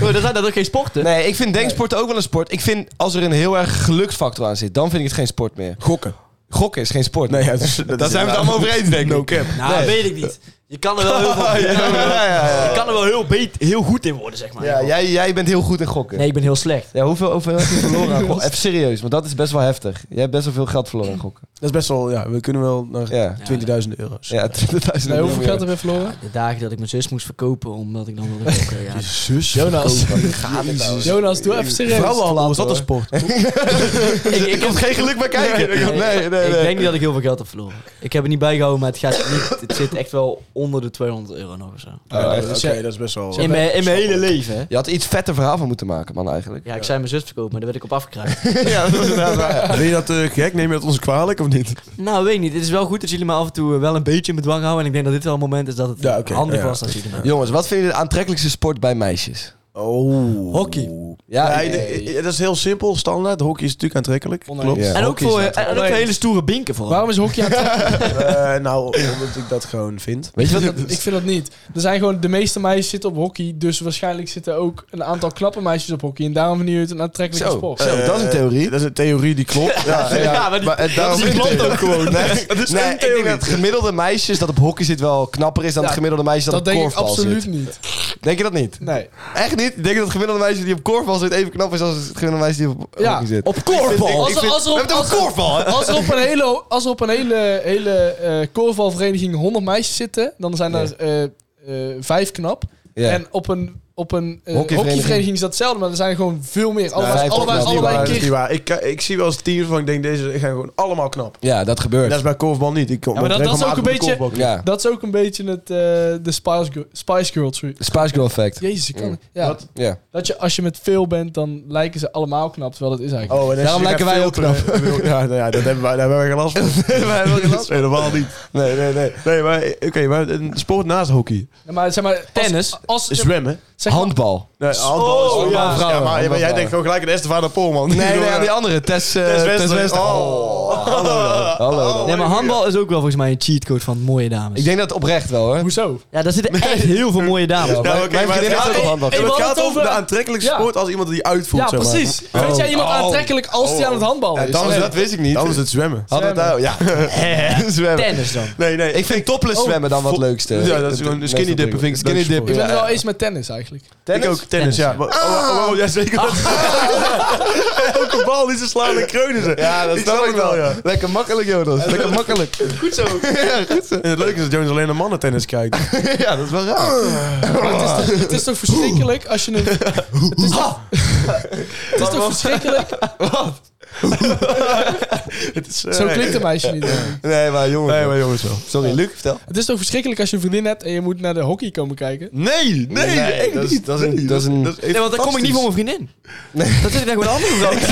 Speaker 4: Oh, dat zijn dat ook geen sporten.
Speaker 2: Nee, ik vind denksporten ook wel een sport. Ik vind als er een heel erg geluksfactor aan zit, dan vind ik het geen sport meer.
Speaker 3: gokken.
Speaker 2: Gokken is geen sport.
Speaker 3: Nee,
Speaker 2: meer.
Speaker 3: ja, dus, dat
Speaker 2: Daar
Speaker 3: is
Speaker 2: zijn we het allemaal over eens, denk ik.
Speaker 3: No cap.
Speaker 4: Nou,
Speaker 2: Nee.
Speaker 4: weet ik niet. Je kan er wel heel, veel-
Speaker 2: Ja, ja, ja.
Speaker 4: Je kan er wel heel, beet, heel goed in worden, zeg maar.
Speaker 2: Eh, Ja, jij, jij bent heel goed in gokken.
Speaker 4: Nee, ik ben heel slecht.
Speaker 2: Ja, hoeveel, hoeveel heb je verloren aan gokken? Even serieus, want dat is best wel heftig. Jij hebt best wel veel geld verloren aan gokken.
Speaker 3: Dat is best wel... Ja, we kunnen wel naar
Speaker 2: Ja,
Speaker 3: 20.000 euro's.
Speaker 2: ja 20.000
Speaker 5: Nee, hoeveel
Speaker 2: euro.
Speaker 5: geld hebben we verloren?
Speaker 4: De dagen dat ik mijn zus moest verkopen, omdat ik dan wilde gokken. Ja.
Speaker 3: Zus.
Speaker 5: Jonas.
Speaker 2: Gaat het nou?
Speaker 5: Jonas, doe even serieus.
Speaker 3: Vrouwenhandel, is dat een
Speaker 5: Hoor.
Speaker 3: sport?
Speaker 4: ik, ik,
Speaker 2: komt geen geluk bij kijken. Nee, nee, nee.
Speaker 4: Ik denk niet dat ik heel veel geld heb verloren. Ik heb het niet bijgehouden, maar het, gaat niet, het zit echt wel onder de 200 euro nog of zo.
Speaker 3: Ja,
Speaker 2: echt?
Speaker 3: Oh, Oké, dat is best wel...
Speaker 4: In mijn, in mijn hele leven, hè.
Speaker 2: Je had iets vetter verhaal van moeten maken, man, eigenlijk.
Speaker 4: Ja, ik zei mijn zus verkopen, maar daar werd ik op afgekraakt.
Speaker 2: ja dat is inderdaad waar.
Speaker 3: Ben je dat eh, gek? Neem je dat ons kwalijk of niet?
Speaker 4: nou, weet ik niet. Het is wel goed dat jullie me af en toe eh, wel een beetje in bedwang houden. En ik denk dat dit wel een moment is dat het
Speaker 3: Ja, oké,
Speaker 4: handig
Speaker 3: ja.
Speaker 4: was dat jullie me...
Speaker 2: Jongens, wat vind je de aantrekkelijkste sport bij meisjes?
Speaker 3: Oh.
Speaker 4: Hockey.
Speaker 2: Ja, eh,
Speaker 3: Ja, eh,
Speaker 2: nee.
Speaker 3: dat is heel simpel, standaard. Hockey is natuurlijk aantrekkelijk.
Speaker 5: Oneens.
Speaker 3: Klopt.
Speaker 2: Ja.
Speaker 4: En ook
Speaker 2: hockey is
Speaker 4: voor, eh,
Speaker 2: dat.
Speaker 4: en, en ook voor hele stoere binken voor.
Speaker 5: Waarom is hockey aan het
Speaker 3: Eh, nou, omdat ik dat gewoon vind.
Speaker 2: Weet je wat?
Speaker 5: Ik vind dat niet. Er zijn gewoon, de meeste meisjes zitten op hockey, dus waarschijnlijk zitten ook een aantal knappe meisjes op hockey. En daarom vind je het een aantrekkelijke
Speaker 2: Zo,
Speaker 5: sport.
Speaker 2: zo, dat is een theorie.
Speaker 3: Eh, Dat is een theorie die klopt. Ja, ja.
Speaker 4: Ja, maar die-
Speaker 2: eh, daarom
Speaker 4: die
Speaker 2: is het
Speaker 4: klopt
Speaker 2: theorie.
Speaker 4: ook gewoon.
Speaker 2: Nee, nee, ik denk dat het gemiddelde meisje dat op hockey zit wel knapper is dan
Speaker 5: Ja,
Speaker 2: het gemiddelde meisje dat, op
Speaker 5: dat denk ik
Speaker 2: korfbal
Speaker 5: absoluut
Speaker 2: zit.
Speaker 5: niet.
Speaker 2: Denk je dat niet?
Speaker 5: Nee.
Speaker 2: Echt niet? Ik denk dat het gemiddelde meisje die op korfbal zit even knap is als het gemiddelde meisje die op
Speaker 5: Ja,
Speaker 2: hockey zit.
Speaker 4: Op korfbal.
Speaker 5: Als er, als
Speaker 2: We
Speaker 5: er op,
Speaker 2: hebben het
Speaker 5: als
Speaker 2: over
Speaker 5: er,
Speaker 2: korfbal, hè?
Speaker 5: als er op een hele, als er op een hele, hele eh korfbalvereniging 100 meisjes zitten, dan zijn er eh, eh, vijf knap.
Speaker 2: Ja.
Speaker 5: En op een, op een eh,
Speaker 2: Hockeyvereniging.
Speaker 5: hockeyvereniging is dat hetzelfde, maar er zijn gewoon veel meer. Allebei,
Speaker 2: vijf
Speaker 5: allebei,
Speaker 2: knap, die
Speaker 5: allebei een
Speaker 3: dat is niet
Speaker 5: keer.
Speaker 3: waar. Ik, ik zie wel eens teams van ik denk, deze gaan gewoon allemaal knap.
Speaker 2: Ja, dat
Speaker 3: En
Speaker 2: gebeurt.
Speaker 3: dat is bij korfbal niet. Ik kom
Speaker 5: Ja, maar dat- dat is ook een
Speaker 3: regelmatig op de
Speaker 5: beetje-
Speaker 3: korfbal.
Speaker 2: ja.
Speaker 5: Dat is ook een beetje het, eh, de Spice, Girl- Spice Girls. sorry.
Speaker 2: Spice Girl effect.
Speaker 5: Jezus, ik kan
Speaker 2: Mm.
Speaker 5: ja.
Speaker 3: Dat-
Speaker 2: Ja.
Speaker 5: Dat je, als je met veel bent, dan lijken ze allemaal knap, terwijl dat is eigenlijk.
Speaker 3: Oh, en als
Speaker 2: Daarom
Speaker 3: je
Speaker 2: lijken
Speaker 3: gaat
Speaker 2: wij ook
Speaker 3: filteren, ik bedoel, Ja, nou ja, dat hebben wij, daar hebben wij geen last van. dat is helemaal niet.
Speaker 2: Nee, nee, nee.
Speaker 3: Nee, maar eh, oké, maar een sport naast hockey.
Speaker 5: Nee, maar zeg maar, als-
Speaker 4: Tennis?
Speaker 5: Als,
Speaker 3: Zwemmen.
Speaker 5: zeg maar-
Speaker 2: Handbal.
Speaker 3: Nee, handbal is
Speaker 4: Oh,
Speaker 3: allemaal
Speaker 4: ja.
Speaker 3: vrouwen.
Speaker 2: Vrouwen,
Speaker 3: Ja, maar, maar
Speaker 2: allemaal
Speaker 3: jij
Speaker 2: vrouwen.
Speaker 3: denkt gewoon gelijk aan Estefan de Polman. Die
Speaker 2: Nee,
Speaker 3: door,
Speaker 2: nee, aan die
Speaker 3: eh,
Speaker 2: andere. Tess, eh,
Speaker 3: Tess
Speaker 2: Tess
Speaker 3: Wester.
Speaker 2: Wester. Oh, hallo dan. Hallo dan.
Speaker 4: Nee, maar handbal is ook wel volgens mij een cheatcode van mooie dames.
Speaker 2: Ik denk dat oprecht wel, hoor.
Speaker 5: Hoezo?
Speaker 4: Ja, daar zitten echt heel veel mooie dames.
Speaker 2: Ja,
Speaker 4: Ja,
Speaker 3: Ja,
Speaker 2: Mijn-
Speaker 3: oké,
Speaker 2: mijn
Speaker 3: maar
Speaker 2: vriendin
Speaker 3: het
Speaker 2: heeft ook
Speaker 3: gaat-
Speaker 2: handbal.
Speaker 5: Hey, hey,
Speaker 3: Het
Speaker 5: we
Speaker 3: gaat
Speaker 5: hadden het
Speaker 3: over de
Speaker 5: over-
Speaker 3: aantrekkelijkste
Speaker 5: Ja.
Speaker 3: sport als iemand die uitvoert.
Speaker 5: Ja,
Speaker 3: zeg maar.
Speaker 5: precies. Vind jij iemand
Speaker 2: Oh.
Speaker 5: aantrekkelijk als die aan het handballen
Speaker 2: Ja,
Speaker 5: is?
Speaker 2: dan- dat wist ik niet.
Speaker 3: Dan is het zwemmen.
Speaker 2: Hadden we het nou? Ja. Zwemmen.
Speaker 4: tennis dan.
Speaker 3: Nee, nee.
Speaker 2: Ik vind topless
Speaker 5: Oh,
Speaker 2: zwemmen dan wat
Speaker 3: vo-
Speaker 2: leukste. Eh,
Speaker 3: Ja, dat is gewoon een skinny dippen, vind ik
Speaker 2: Skinny
Speaker 3: leuk
Speaker 2: dippen,
Speaker 5: ik ben het
Speaker 2: ja. Ah.
Speaker 5: wel eens met tennis eigenlijk.
Speaker 3: Ik ook. Tennis, ja. Maar- Oh, oh, oh, ja, zeker. Elke bal die ze slaan en kreunen ze.
Speaker 2: Ja, dat snap ik wel. Lekker makkelijk, Jonas. Lekker makkelijk. Goed zo. Ja, goed zo.
Speaker 3: En het leuke is dat Jones alleen naar mannen tennis kijkt.
Speaker 2: Ja, dat is wel raar.
Speaker 5: Maar het, is, het is toch verschrikkelijk als je een... Het
Speaker 4: Dus
Speaker 5: is toch, het is toch verschrikkelijk?
Speaker 3: Het is,
Speaker 2: eh,
Speaker 5: Zo klinkt een meisje niet. denk ik.
Speaker 2: Nee, maar jongen.
Speaker 3: Nee, maar jongens wel.
Speaker 2: Sorry, Luc, vertel.
Speaker 5: Het is toch verschrikkelijk als je een vriendin hebt en je moet naar de hockey komen kijken?
Speaker 3: Nee, nee, echt
Speaker 2: dat is-
Speaker 3: niet.
Speaker 2: dat is een-
Speaker 3: Nee,
Speaker 2: dat is een-
Speaker 4: Nee, want dan kom ik niet voor mijn vriendin. Dat zit ik daar gewoon anders dan.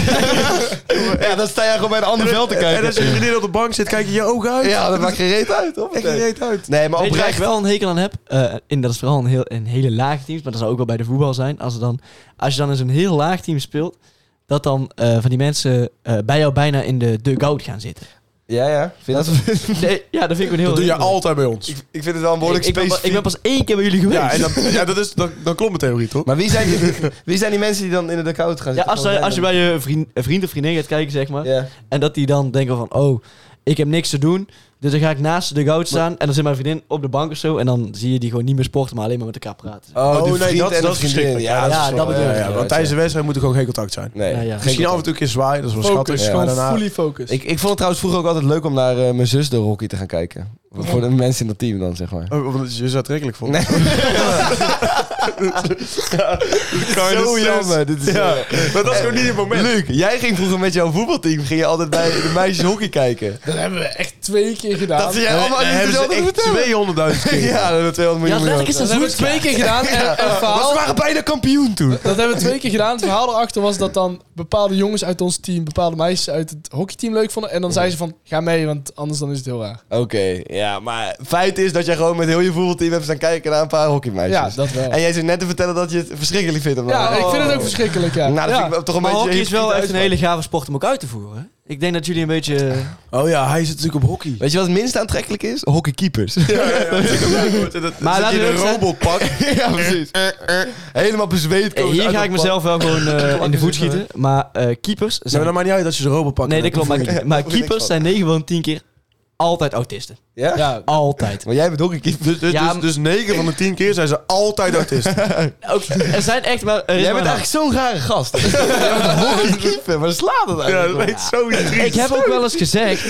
Speaker 2: Ja, dan sta jij gewoon bij een ander veld te
Speaker 3: En als je
Speaker 2: kijken.
Speaker 3: vriendin op de bank zit, kijk je je ogen uit.
Speaker 2: Ja, dat maakt geen reet uit, hoor.
Speaker 3: Echt niet reet uit.
Speaker 2: Nee, maar
Speaker 4: Weet je waar ik
Speaker 2: oprecht.
Speaker 4: wel een hekel aan heb? Eh, en dat is vooral een, heel, een hele laag team, maar dat zou ook wel bij de voetbal zijn. Als, er dan, als je dan eens een heel laag team speelt, dat dan eh, van die mensen eh, bij jou bijna in de dugout gaan zitten.
Speaker 2: Ja, ja. Vind je dat...
Speaker 4: Nee, ja, dat vind ik een heel...
Speaker 3: Dat doe je
Speaker 4: hekel.
Speaker 3: altijd bij ons.
Speaker 2: Ik, ik vind het wel een
Speaker 4: Ik,
Speaker 2: behoorlijk
Speaker 4: ik ben, pas-
Speaker 2: specifiek.
Speaker 4: ik ben pas één keer bij jullie geweest.
Speaker 3: Ja,
Speaker 4: Ja,
Speaker 3: en dat, ja dat, is, dan, dan klopt mijn theorie, toch?
Speaker 2: Maar wie zijn, die, wie zijn die mensen die dan in de koud gaan zitten?
Speaker 4: als, je- als je bij je vriend, vriend of vriendin gaat kijken, zeg maar,
Speaker 2: Ja.
Speaker 4: En dat die dan denken van, oh, ik heb niks te doen. Dus dan ga ik naast de goud staan. En dan zit mijn vriendin op de bank of zo. En dan zie je die gewoon niet meer sporten, maar alleen maar met elkaar praten.
Speaker 2: Oh,
Speaker 3: die
Speaker 2: die
Speaker 3: vriend
Speaker 2: vriend
Speaker 3: en
Speaker 2: en
Speaker 3: de
Speaker 2: dat
Speaker 3: vriendin.
Speaker 2: Ja,
Speaker 3: Ja,
Speaker 4: ja, dat bedoel
Speaker 2: ja,
Speaker 4: ik.
Speaker 2: eh, ja,
Speaker 3: Ja, want tijdens de wedstrijd moet er gewoon geen contact zijn.
Speaker 2: Nee,
Speaker 4: Ja, ja.
Speaker 2: geen
Speaker 3: Misschien af en
Speaker 2: contact.
Speaker 3: toe een keer zwaaien, dat is wel schattig.
Speaker 5: Focus,
Speaker 2: Ja.
Speaker 5: gewoon
Speaker 3: Maar daarna-
Speaker 5: fully focus.
Speaker 2: Ik, ik vond het trouwens vroeger ook altijd leuk om naar eh, mijn zus de hockey te gaan kijken. Voor de mensen in dat team dan, zeg maar.
Speaker 3: Oh, want het is aantrekkelijk voor.
Speaker 2: Nee. Zo jammer.
Speaker 3: Dit
Speaker 2: is,
Speaker 3: ja.
Speaker 2: Maar dat is gewoon niet het moment. Luc, jij ging vroeger met jouw voetbalteam ging je altijd bij de meisjes hockey kijken.
Speaker 5: Dat hebben we echt twee keer gedaan.
Speaker 2: Dat zie jij allemaal
Speaker 3: Dan
Speaker 2: niet
Speaker 3: hebben ze
Speaker 2: dezelfde
Speaker 3: echt
Speaker 2: vertellen.
Speaker 3: 200.000 keer.
Speaker 2: Ja, dat hebben 200 miljoen.
Speaker 4: letterlijk
Speaker 2: miljoen.
Speaker 4: is dat
Speaker 5: Dat hebben we twee keer gedaan. En, en het
Speaker 2: Maar
Speaker 5: verhaal,
Speaker 2: Ze waren bijna kampioen toen.
Speaker 5: dat hebben we twee keer gedaan. Het verhaal erachter was dat dan bepaalde jongens uit ons team, bepaalde meisjes uit het hockeyteam leuk vonden. En dan zeiden ze van, ga mee, want anders dan is het heel raar.
Speaker 2: Oké, ja, maar feit is dat jij gewoon met heel je voetbalteam hebt staan kijken naar een paar hockeymeisjes.
Speaker 5: Ja, dat wel.
Speaker 2: En jij zit net te vertellen dat je het verschrikkelijk vindt. om dat-
Speaker 5: Ja, ik vind het ook
Speaker 2: Oh.
Speaker 5: verschrikkelijk, ja.
Speaker 2: Nou, dat
Speaker 5: ja.
Speaker 2: vind ik wel toch een
Speaker 4: Maar
Speaker 2: beetje...
Speaker 4: hockey is wel echt een
Speaker 2: uitspraak.
Speaker 4: hele gave sport om ook uit te voeren. Ik denk dat jullie een beetje... eh,
Speaker 3: Oh ja, hij zit natuurlijk op hockey.
Speaker 2: Weet je wat het minst aantrekkelijk is? Hockeykeepers. Ja, in
Speaker 4: Maar laten we
Speaker 2: een
Speaker 4: eerlijk zijn-
Speaker 2: robotpak. ja, precies. Helemaal bezweet.
Speaker 4: Eh,
Speaker 2: komen ze
Speaker 4: Hier
Speaker 2: dus uit
Speaker 4: ga ik
Speaker 2: dat
Speaker 4: mezelf wel gewoon eh,
Speaker 2: dus
Speaker 4: in de voet schieten. Maar eh, keepers
Speaker 3: Nou,
Speaker 4: zijn...
Speaker 3: dan maakt niet uit als je zo'n robot pakt.
Speaker 4: nee, dat klopt. Maar, maar
Speaker 2: Daar voel ik
Speaker 4: keepers zijn 9 van 10 keer altijd autisten.
Speaker 2: pak. Ja?
Speaker 5: Ja,
Speaker 4: Altijd.
Speaker 2: Maar jij bent hockeykeeper.
Speaker 3: Dus, dus,
Speaker 4: Ja,
Speaker 3: dus,
Speaker 4: maar-
Speaker 3: 9 van de 10 keer zijn ze altijd autist.
Speaker 4: Ook, er zijn echt maar... er is
Speaker 2: Jij
Speaker 4: maar
Speaker 2: bent
Speaker 4: een-
Speaker 2: eigenlijk zo'n rare gast. jij bent hockeykeeper. Waar slaat dat
Speaker 3: ja,
Speaker 2: eigenlijk?
Speaker 3: dat
Speaker 2: op?
Speaker 3: weet zo triest.
Speaker 4: Ik heb ook wel eens gezegd,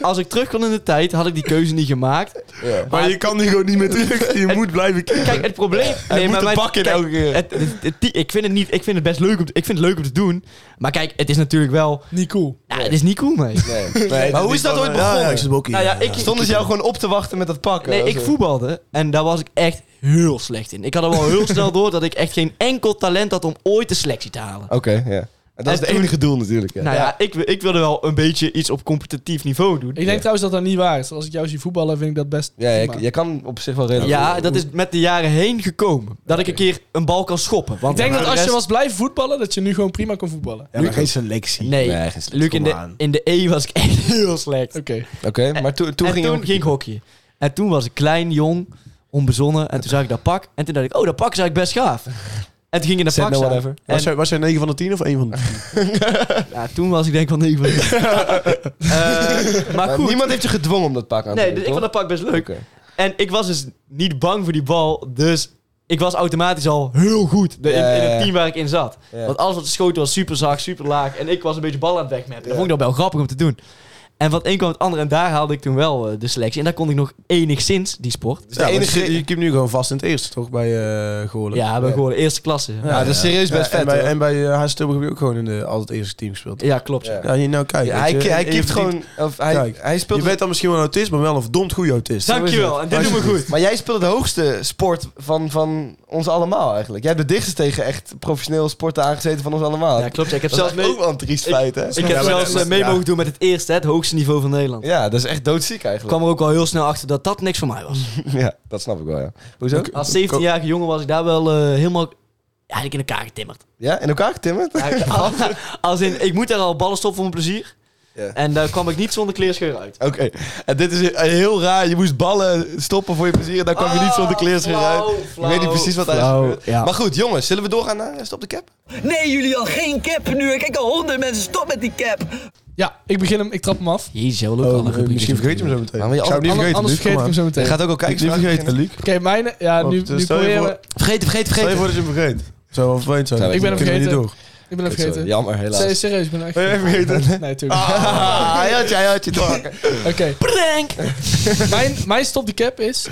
Speaker 4: als ik terug kon in de tijd, had ik die keuze niet gemaakt.
Speaker 2: Ja.
Speaker 3: Maar je kan die gewoon niet meer terug. Je moet blijven kijken.
Speaker 4: Kijk, het probleem...
Speaker 2: Hij moet een pak in
Speaker 4: kijk,
Speaker 2: elke keer.
Speaker 4: het- het- het- die- ik vind het niet... Ik vind het best leuk om, te- ik vind het leuk om te doen. Maar kijk, het is natuurlijk wel...
Speaker 5: niet cool.
Speaker 4: Nou, het is niet cool, mee.
Speaker 2: Nee. Nee,
Speaker 3: Maar hoe is dat ooit begonnen? hockey.
Speaker 4: Nou ja, ik,
Speaker 2: Stonden ze jou gewoon op te wachten met dat pakken?
Speaker 4: Nee, ik voetbalde en daar was ik echt heel slecht in. Ik had er wel heel snel door dat ik echt geen enkel talent had om ooit de selectie te halen.
Speaker 2: Oké, ja. En dat is
Speaker 4: En
Speaker 2: het enige doel natuurlijk. Ja.
Speaker 4: Nou ja, ik, wi- ik wilde wel een beetje iets op competitief niveau doen.
Speaker 5: Ik denk trouwens dat dat niet waar is. Als ik jou zie voetballen, vind ik dat best
Speaker 2: Ja,
Speaker 5: prima.
Speaker 2: je, je kan op zich wel redelijk.
Speaker 4: Ja, dat is met de jaren heen gekomen. Dat ik een keer een bal kan schoppen. Want
Speaker 5: Ik denk
Speaker 4: voor
Speaker 5: dat
Speaker 4: de
Speaker 5: als je
Speaker 4: rest-
Speaker 5: was blijven voetballen, dat je nu gewoon prima kon voetballen.
Speaker 3: Ja, maar geen selectie.
Speaker 4: Nee,
Speaker 2: Nee, geen slecht.
Speaker 4: Luc, in
Speaker 3: Kom
Speaker 4: de,
Speaker 3: aan.
Speaker 4: in de E was ik echt heel slecht.
Speaker 5: Oké.
Speaker 2: Oké, maar toen toen
Speaker 4: en
Speaker 2: ging
Speaker 4: toen
Speaker 2: je...
Speaker 4: ging ik hockeyen. En toen was ik klein, jong, onbezonnen. En toen zag ik dat pak. En toen dacht ik, oh, dat pak is eigenlijk best gaaf. En toen ging ik in dat
Speaker 2: Said
Speaker 4: pak
Speaker 2: no
Speaker 4: staan.
Speaker 2: nou whatever.
Speaker 4: En-
Speaker 3: Was jij, was jij 9 van de 10 of 1 van de 10?
Speaker 4: Ja, toen was ik denk van nee, ik wil niet. Eh, maar
Speaker 2: Maar
Speaker 4: goed.
Speaker 2: Niemand heeft je gedwongen om dat pak aan te
Speaker 4: Nee,
Speaker 2: doen,
Speaker 4: dus ik vond
Speaker 2: toch?
Speaker 4: dat pak best leuk.
Speaker 2: Oké.
Speaker 4: En ik was dus niet bang voor die bal. Dus ik was automatisch al heel goed de- in, in
Speaker 2: Ja, ja, ja.
Speaker 4: het team waar ik in zat.
Speaker 2: Ja.
Speaker 4: Want alles wat ze schoten was super zacht, super laag. En ik was een beetje bal aan het wegmappen. Dat vond ik dan wel grappig om te doen. En van het een kwam het andere. En daar haalde ik toen wel eh, de selectie. En daar kon ik nog enigszins die sport.
Speaker 2: de
Speaker 3: Ja,
Speaker 2: enige-
Speaker 3: enige... Je kiept nu gewoon vast in het eerste, toch? Bij eh Goorlen.
Speaker 4: Ja, we gewoon de eerste klasse. Nou, Ja,
Speaker 2: Ja, dat is serieus best
Speaker 3: en
Speaker 2: vet.
Speaker 3: bij,
Speaker 2: hoor.
Speaker 3: en bij eh, HC Tilburg heb je ook gewoon in de, altijd eerste team gespeeld.
Speaker 4: klopt. ja.
Speaker 3: Ja, hier nou kijk.
Speaker 2: Ja,
Speaker 3: weet
Speaker 2: hij
Speaker 3: je.
Speaker 2: ki- hij
Speaker 3: Je
Speaker 2: kipt
Speaker 3: verdient-
Speaker 2: gewoon... Of hij,
Speaker 3: Kijk,
Speaker 2: hij speelt
Speaker 3: Je bent dan misschien wel een autist, maar wel een verdomd goede autist.
Speaker 4: Dankjewel. En dit doet me goed.
Speaker 2: Maar jij speelt het hoogste sport van, van ons allemaal eigenlijk. Jij hebt de dichtst tegen echt professioneel sporten aangezeten van ons allemaal.
Speaker 4: Ja, klopt. ja. Ik heb
Speaker 2: dat is
Speaker 4: zelfs mee,
Speaker 2: ook wel een triest
Speaker 4: Ik-
Speaker 2: feit, hè?
Speaker 4: ik heb
Speaker 3: Ja, maar-
Speaker 4: zelfs eh, mee
Speaker 3: ja.
Speaker 4: mogen doen met het eerste, hè, het hoogste niveau van Nederland.
Speaker 2: Ja, dat is echt doodziek
Speaker 4: Ik
Speaker 2: eigenlijk.
Speaker 4: kwam er ook al heel snel achter dat dat niks voor mij was.
Speaker 2: Ja, dat snap ik wel, ja. Hoezo?
Speaker 4: Als 17-jarige jongen was ik daar wel eh, helemaal eigenlijk in elkaar getimmerd.
Speaker 2: Ja, in elkaar getimmerd?
Speaker 4: Als, als in, ik moet daar al ballen stoppen voor mijn plezier.
Speaker 2: Ja.
Speaker 4: En daar kwam ik niet zonder kleerscheur uit.
Speaker 2: Oké, en dit is heel raar. Je moest ballen stoppen voor je plezier en daar kwam je niet zonder kleerscheur uit.
Speaker 4: Flauw,
Speaker 2: Ik weet niet precies wat daar is
Speaker 4: flauw,
Speaker 2: gebeurd.
Speaker 4: ja.
Speaker 2: Maar goed, jongens, zullen we doorgaan naar eh, Stop de Cap?
Speaker 6: Nee, jullie al geen cap nu. Ik kijk al honderd mensen. Stop met die cap.
Speaker 5: Ja, ik begin hem. Ik trap hem af.
Speaker 4: Jezus, jij wil ook
Speaker 3: Oh,
Speaker 4: wel een rubriek
Speaker 3: misschien
Speaker 4: doen.
Speaker 3: vergeet je hem zo meteen.
Speaker 2: Maar je
Speaker 3: Ik zou hem niet
Speaker 5: Ander-
Speaker 3: vergeten,
Speaker 5: anders
Speaker 3: Luc,
Speaker 5: vergeet ik hem
Speaker 3: kom maar.
Speaker 5: zo meteen.
Speaker 2: Je gaat ook al
Speaker 3: Niet
Speaker 2: kijken.
Speaker 3: vergeten, Luc.
Speaker 5: Oké, mijne. Ja,
Speaker 3: Want,
Speaker 5: nu,
Speaker 3: eh,
Speaker 5: nu
Speaker 3: stel je
Speaker 5: proberen
Speaker 3: voor-
Speaker 5: we-
Speaker 2: Vergeten, vergeten,
Speaker 3: Stel je
Speaker 2: vergeten.
Speaker 3: voor dat je hem vergeet. Zou wel vervelend zijn.
Speaker 2: Zou ik
Speaker 5: ben hem
Speaker 3: Kunnen we niet
Speaker 5: vergeten.
Speaker 3: door.
Speaker 5: Ik ben hem vergeten.
Speaker 2: Jammer,
Speaker 5: Se-
Speaker 2: helaas.
Speaker 5: serieus, ik ben hem echt
Speaker 3: Ben jij vergeten?
Speaker 5: Nee, tuurlijk.
Speaker 2: Ah, hij had je, hij had je te pakken.
Speaker 5: Oké. mijn, mijn stop de cap is...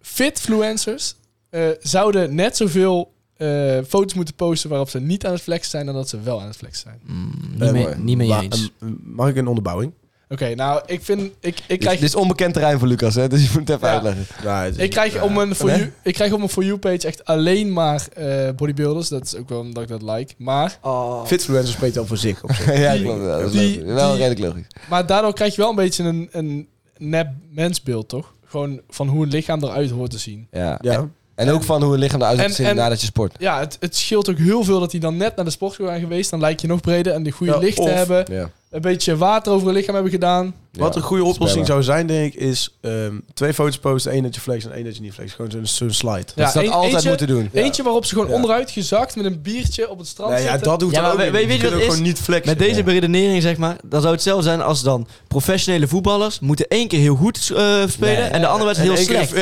Speaker 5: Fitfluencers eh, zouden net zoveel eh, foto's moeten posten waarop ze niet aan het flexen zijn dan dat ze wel aan het flexen zijn.
Speaker 4: Mm,
Speaker 3: Eh,
Speaker 4: niet, mee,
Speaker 3: mooi.
Speaker 4: niet mee
Speaker 3: Maar,
Speaker 4: eens.
Speaker 3: eh, Mag ik een onderbouwing?
Speaker 5: Oké, nou, ik vind... Ik, ik
Speaker 2: Dit
Speaker 5: krijg...
Speaker 2: is onbekend terrein voor Lucas, hè? dus je moet het even
Speaker 5: Ja.
Speaker 2: uitleggen.
Speaker 3: Ja, het is-
Speaker 5: Ik krijg,
Speaker 3: ja.
Speaker 5: om een for
Speaker 3: Nee?
Speaker 5: you, ik krijg op mijn For You-page echt alleen maar eh, bodybuilders. Dat is ook wel omdat ik dat like. Maar,
Speaker 4: Ah.
Speaker 3: Fitfluencer spreekt al voor zich. op zich.
Speaker 2: ja,
Speaker 5: Die-
Speaker 2: klopt. ja, dat is
Speaker 5: die-
Speaker 2: logisch. wel
Speaker 5: die-
Speaker 2: redelijk logisch.
Speaker 5: maar daardoor krijg je wel een beetje een, een nep mensbeeld, toch? Gewoon van hoe een lichaam eruit hoort te zien.
Speaker 2: Ja.
Speaker 3: Ja.
Speaker 2: En ook van hoe een lichaam eruit
Speaker 5: En-
Speaker 2: ziet zien
Speaker 5: en-
Speaker 2: nadat je sport.
Speaker 5: Ja, het, het scheelt ook heel veel dat hij dan net naar de sportschool is geweest. Dan lijkt je nog breder en de goede
Speaker 3: Ja,
Speaker 5: lichten
Speaker 3: of-
Speaker 5: hebben.
Speaker 2: Ja.
Speaker 5: Een beetje water over het lichaam hebben gedaan.
Speaker 3: Wat een goede oplossing
Speaker 2: Spellen.
Speaker 3: zou zijn, denk ik, is ehm, twee foto's posten. één dat je flex en één dat je niet flex. Gewoon zo'n zo'n slide.
Speaker 5: Ja,
Speaker 2: Dat ze
Speaker 5: een-
Speaker 2: dat
Speaker 4: e-,
Speaker 2: altijd
Speaker 5: eentje-
Speaker 2: moeten doen.
Speaker 5: Eentje waarop ze gewoon
Speaker 3: Ja.
Speaker 5: onderuit gezakt met een biertje op het strand
Speaker 3: Nee, ja,
Speaker 5: zitten.
Speaker 3: dat hoeft
Speaker 4: Ja,
Speaker 3: dan
Speaker 4: maar
Speaker 3: ook
Speaker 4: we- weet
Speaker 3: niet.
Speaker 4: je
Speaker 3: Je
Speaker 4: wat
Speaker 3: kunt ook
Speaker 4: het is?
Speaker 3: gewoon niet flexen.
Speaker 4: Met deze beredenering, zeg maar, dan zou het hetzelfde zijn als dan professionele voetballers moeten één keer heel goed eh, spelen en de andere wedstrijd heel slecht.